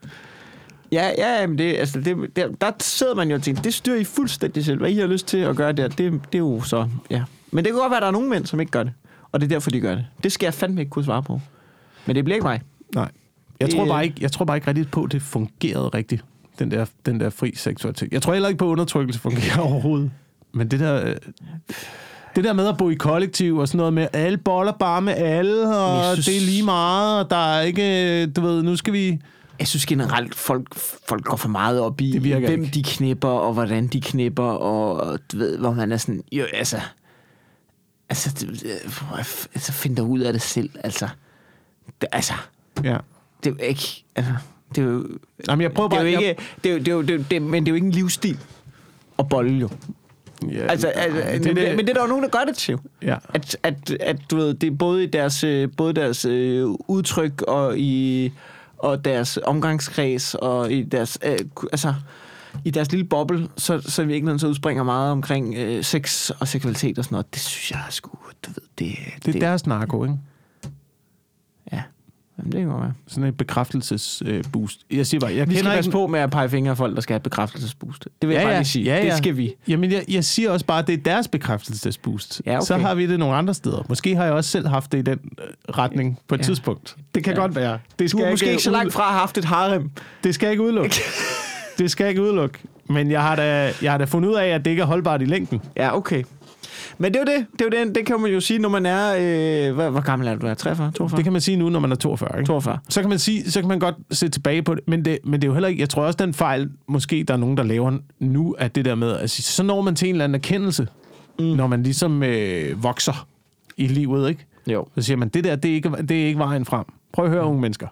A: Ja, ja, jamen det, altså det, der, der sidder man jo og tænker, det styrer I fuldstændig selv. Hvad I har lyst til at gøre der, det, det er jo så, ja. Men det kan godt være, at der er nogle mænd, som ikke gør det. Og det er derfor, de gør det. Det skal jeg fandme ikke kunne svare på. Men det bliver ikke mig.
B: Nej. Jeg
A: Det-
B: tror bare ikke, jeg tror bare ikke rigtigt på, at det fungerede rigtigt, den der, den der fri seksualitet. Jeg tror heller ikke på, at undertrykkelse fungerer overhovedet. Men det der... øh, Det der med at bo i kollektiv og sådan noget med, alle boller bare med alle, og
A: jeg
B: synes...
A: synes-
B: det er lige meget, og der er ikke... øh, Du ved, nu skal vi...
A: Jeg synes generelt, folk, folk går for meget op i,
B: Det virker
A: hvem
B: ikke.
A: de knipper, og hvordan de knipper, og du ved, hvor man er sådan, jo, altså, altså, det, det- altså find dig ud af det selv, altså. Det, altså,
B: Ja.
A: det er jo ikke, altså, det er jo,
B: Jamen, jeg prøver
A: Det er
B: bare...
A: jo ikke, det er jo, det er jo, det er jo, det, men det er jo ikke en livsstil at bolle jo.
B: Jeg, ja,
A: Altså, altså
B: det,
A: men,
B: er
A: det, men det er der jo nogen, der gør det til.
B: Ja.
A: At, at, at du ved, det er både i deres, øh, både deres øh, udtryk og i og deres omgangskreds og i deres, øh, ku- altså, i deres lille boble, så, så i virkeligheden så udspringer meget omkring øh, sex og seksualitet og sådan noget. Det synes jeg er sgu, du ved, det...
B: det er deres narko, ikke?
A: Ja, Jamen, det kan godt være.
B: Sådan et bekræftelsesboost. Jeg siger bare, jeg
A: Vi skal
B: kender
A: passe
B: ikke...
A: på med at pege fingre af folk, der skal have et bekræftelsesboost. Det vil jeg
B: Ja,
A: bare
B: ja.
A: lige sige.
B: Ja, ja.
A: Det skal vi.
B: Jamen, jeg, jeg siger også bare, at det er deres bekræftelsesboost.
A: Ja, okay.
B: Så har vi det nogle andre steder. Måske har jeg også selv haft det i den øh, retning på et ja. tidspunkt. Det kan ja. godt være. Det
A: Du
B: skal
A: er
B: jeg
A: måske ikke øh, så
B: ude-
A: langt fra at have haft et harem.
B: Det skal jeg ikke udelukke. det skal jeg ikke udelukke. Men jeg har, da, jeg har da fundet ud af, at det ikke er holdbart i længden.
A: Ja, okay. Men det er jo det. Det, er jo det. det kan man jo sige, når man er... Øh, hvad, hvor gammel er du? Er 43? 42?
B: Det kan man sige nu, når man er 42. Ikke?
A: 42.
B: Så kan man sige, så kan man godt se tilbage på det, men det, men det er jo heller ikke, jeg tror også, den fejl, måske der er nogen, der laver nu, at det der med, at sige, så når man til en eller anden erkendelse, mm. når man ligesom øh, vokser i livet, ikke?
A: Jo.
B: Så siger man, det der, det er ikke, det er ikke vejen frem. Prøv at høre, unge mennesker.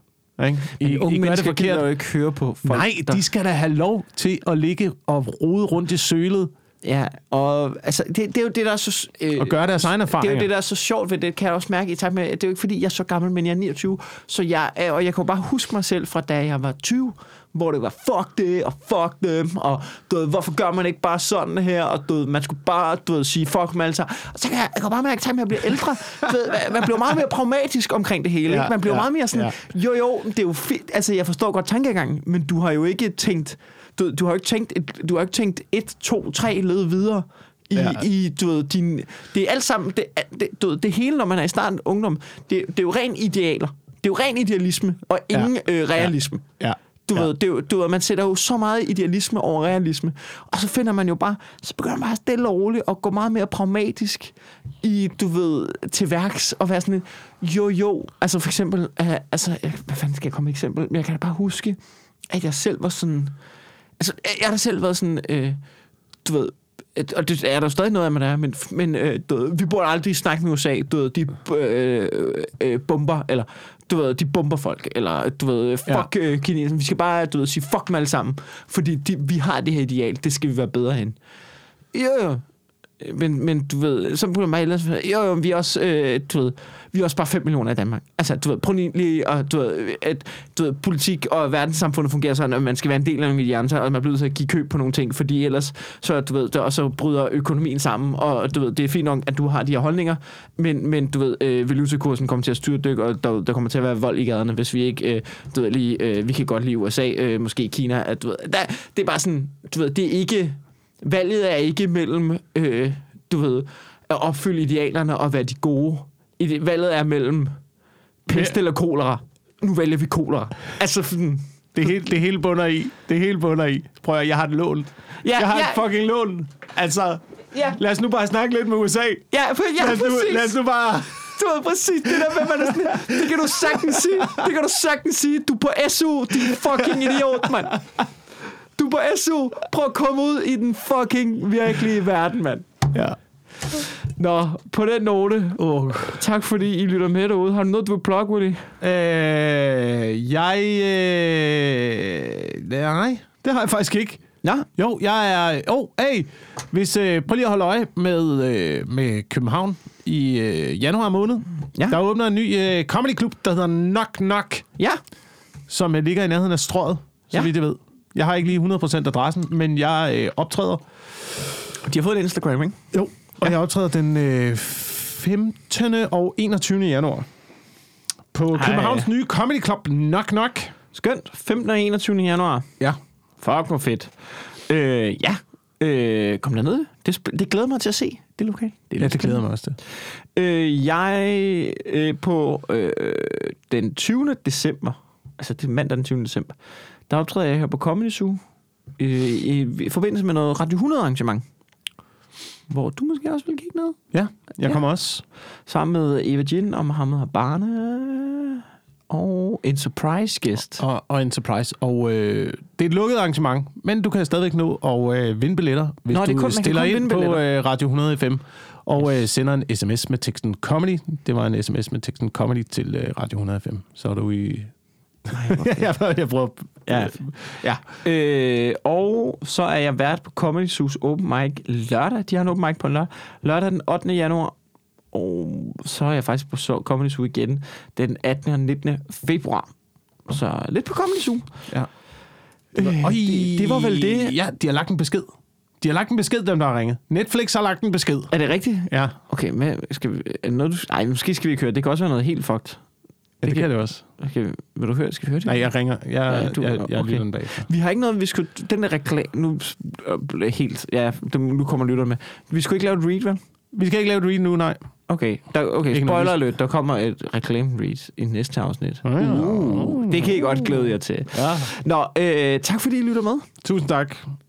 B: Ikke? I,
A: I, unge
B: I gør det
A: mennesker
B: forkert.
A: gider jo ikke høre på folk.
B: Nej,
A: der-
B: de skal da have lov til at ligge og rode rundt i sølet
A: Ja, og altså, det, det er jo det, der er så... Øh,
B: og gøre deres egne
A: det er
B: erfaringer.
A: jo det, der er så sjovt ved det, kan jeg også mærke i takt med, at det er jo ikke fordi, jeg er så gammel, men jeg er 29, så jeg, er- og jeg kan jo bare huske mig selv fra da jeg var 20, hvor det var fuck det, og fuck dem, og du ved, hvorfor gør man ikke bare sådan her, og du ved, man skulle bare du ved, sige fuck dem alle sammen. Og så kan jeg, jeg kan bare mærke, at i takt med, at jeg bliver ældre, du ved, man- man bliver meget mere pragmatisk omkring det hele.
B: Ja,
A: Ja, man bliver
B: ja,
A: ja, meget mere sådan,
B: ja.
A: ja. jo jo, det er jo fint, altså jeg forstår godt tankegangen, men du har jo ikke tænkt, du, ved, du har jo ikke tænkt, et- du har jo ikke tænkt et, to, tre led videre i,
B: Ja.
A: ja i, du ved, din... Det er alt sammen... Det, er- det, du ved, det hele, når man er i starten af ungdom, det, det er jo ren idealer. Det er jo ren idealisme, og ingen
B: Ja.
A: ja. øh, realisme.
B: Ja.
A: Du,
B: Ja.
A: ved, det, er jo- du ved, man sætter jo så meget idealisme over realisme. Og så finder man jo bare... Så begynder man bare stille og roligt at gå meget mere pragmatisk i, du ved, til værks og være sådan lidt, jo jo. Altså for eksempel... Øh, altså, jeg, hvad fanden skal jeg komme med et eksempel? Men jeg kan da bare huske, at jeg selv var sådan... Altså, jeg- jeg har da selv været sådan... Øh, du ved, et- og det er der jo stadig noget af, man er, men, men øh, du ved, vi burde aldrig snakke med USA, du ved, de øh, øh, bomber, eller du ved, de bomber folk, eller du ved, fuck ja. øh, kineserne, vi skal bare, du ved, sige fuck dem alle sammen, fordi de, vi har det her ideal, det skal vi være bedre hen. Jo, jo. Men, men du ved, så burde mig ellers... Jo, jo, vi er også, øh, du ved, vi er også bare 5 millioner i Danmark. Altså, du ved, prøv lige- lige at, du ved, at, du ved, politik og verdenssamfundet fungerer sådan, at man skal være en del af en alliance, og man bliver nødt til at give køb på nogle ting, fordi ellers, så, du ved, der, og så bryder økonomien sammen, og du ved, det er fint nok, at du har de her holdninger, men, men du ved, øh, valutakursen kommer til at styrdykke, og der, der kommer til at være vold i gaderne, hvis vi ikke, øh, du ved, lige, øh, vi kan godt lide USA, øh, måske Kina, at, du ved, der, det er bare sådan, du ved, det er ikke valget er ikke mellem, øh, du ved, at opfylde idealerne og være de gode. Ide- Valget er mellem pest
B: Ja.
A: eller kolera. Nu vælger vi kolera. Altså sådan...
B: Det hele, det hele bunder i. Det hele bunder i. Prøv at høre, jeg har et lån.
A: Ja,
B: jeg har
A: ja.
B: et fucking lån. Altså,
A: Ja,
B: lad os nu bare snakke lidt med USA.
A: ja, for, ja
B: Lad os nu,
A: præcis.
B: lad os nu bare...
A: Du ved præcis det der med, man er sådan, det kan du sagtens sige. Det kan du sagtens sige. Du er på SU, din fucking idiot, mand. Du er på SU. Prøv at komme ud i den fucking virkelige verden, mand.
B: Ja.
A: Nå, på den note.
B: Oh.
A: Tak fordi I lytter med derude. Har du noget, du vil plukke, Willy?
B: Øh, jeg... Øh, nej, det har jeg faktisk ikke.
A: Ja,
B: Jo, jeg er... Åh, oh, hey! Hvis, øh, prøv lige at holde øje med, øh, med København i øh, januar måned.
A: Ja.
B: Der åbner en ny øh, comedyklub, der hedder Knock Knock,
A: Ja,
B: som øh, ligger i nærheden af Strøget, så
A: Ja.
B: vidt jeg ved. Jeg har ikke lige 100% adressen, men jeg øh, optræder.
A: de har fået en Instagram, ikke?
B: Jo. Og jeg optræder den øh, 15. og 21. januar på
A: Ej.
B: Københavns nye comedy club Knock Knock.
A: Skønt. 15. og 21. januar.
B: Ja.
A: Fuck, hvor fedt. Øh, ja, øh, kom derned. Det, sp- det glæder mig til at se, det lokal. Det
B: Ja, det glæder mig også til.
A: Øh, jeg øh, på øh, den 20. december, altså det er mandag den 20. december, der optræder jeg her på Comedy Zoo øh, i forbindelse med noget Radio 100 arrangement, hvor du måske også vil kigge ned.
B: Ja, jeg
A: Ja.
B: kommer også.
A: Sammen med Eva Jin og Mohammed Habane og en surprise guest.
B: Og, og en surprise. Og øh, det er et lukket arrangement, men du kan stadigvæk nå at øh, vinde billetter, hvis
A: Nå, det er
B: du
A: kun- man kan
B: stiller
A: kun
B: ind
A: vinde
B: på
A: billetter.
B: øh, Radio 100 FM og øh, sender en sms med teksten comedy. Det var en sms med teksten comedy til øh, Radio 100 FM. Så er du i...
A: Nej, hvor fedt.
B: jeg, prøver, jeg prøver...
A: Ja. ja. Øh, og så er jeg vært på Comedy Zoo's Open Mic lørdag. De har en Open Mic på en lørdag. Lørdag den 8. januar. Og så er jeg faktisk på Zoo- Comedy Zoo igen den 18. og 19. februar. Så lidt på Comedy Zoo.
B: ja.
A: Øh,
B: Øj,
A: det- det var vel det.
B: Ja, de har lagt en besked. De har lagt en besked, dem der har ringet. Netflix har lagt en besked.
A: Er det rigtigt?
B: Ja,
A: Okay, men skal vi, er det noget, du, ej, måske skal vi ikke høre. det. Det kan også være noget helt fucked.
B: det, det
A: kan-
B: kan det også.
A: Okay, vil du høre? det? Skal vi høre det?
B: Nej, jeg ringer. Jeg,
A: Ja, du-
B: jeg, jeg
A: okay.
B: lytter den bagefter.
A: Vi har ikke noget, vi skulle... Den der reklame... Nu øh, blev helt... Ja, dem- nu kommer lytterne med. Vi skulle ikke lave et read, vel?
B: Vi skal ikke lave et read nu, nej.
A: Okay, der, okay
B: Ikke
A: spoiler
B: noget
A: alert, der kommer et reklame read i næste afsnit.
B: Ah, ja.
A: Uh, det kan I godt glæde jer til.
B: Ja.
A: Nå, øh, tak fordi I lytter med.
B: Tusind tak.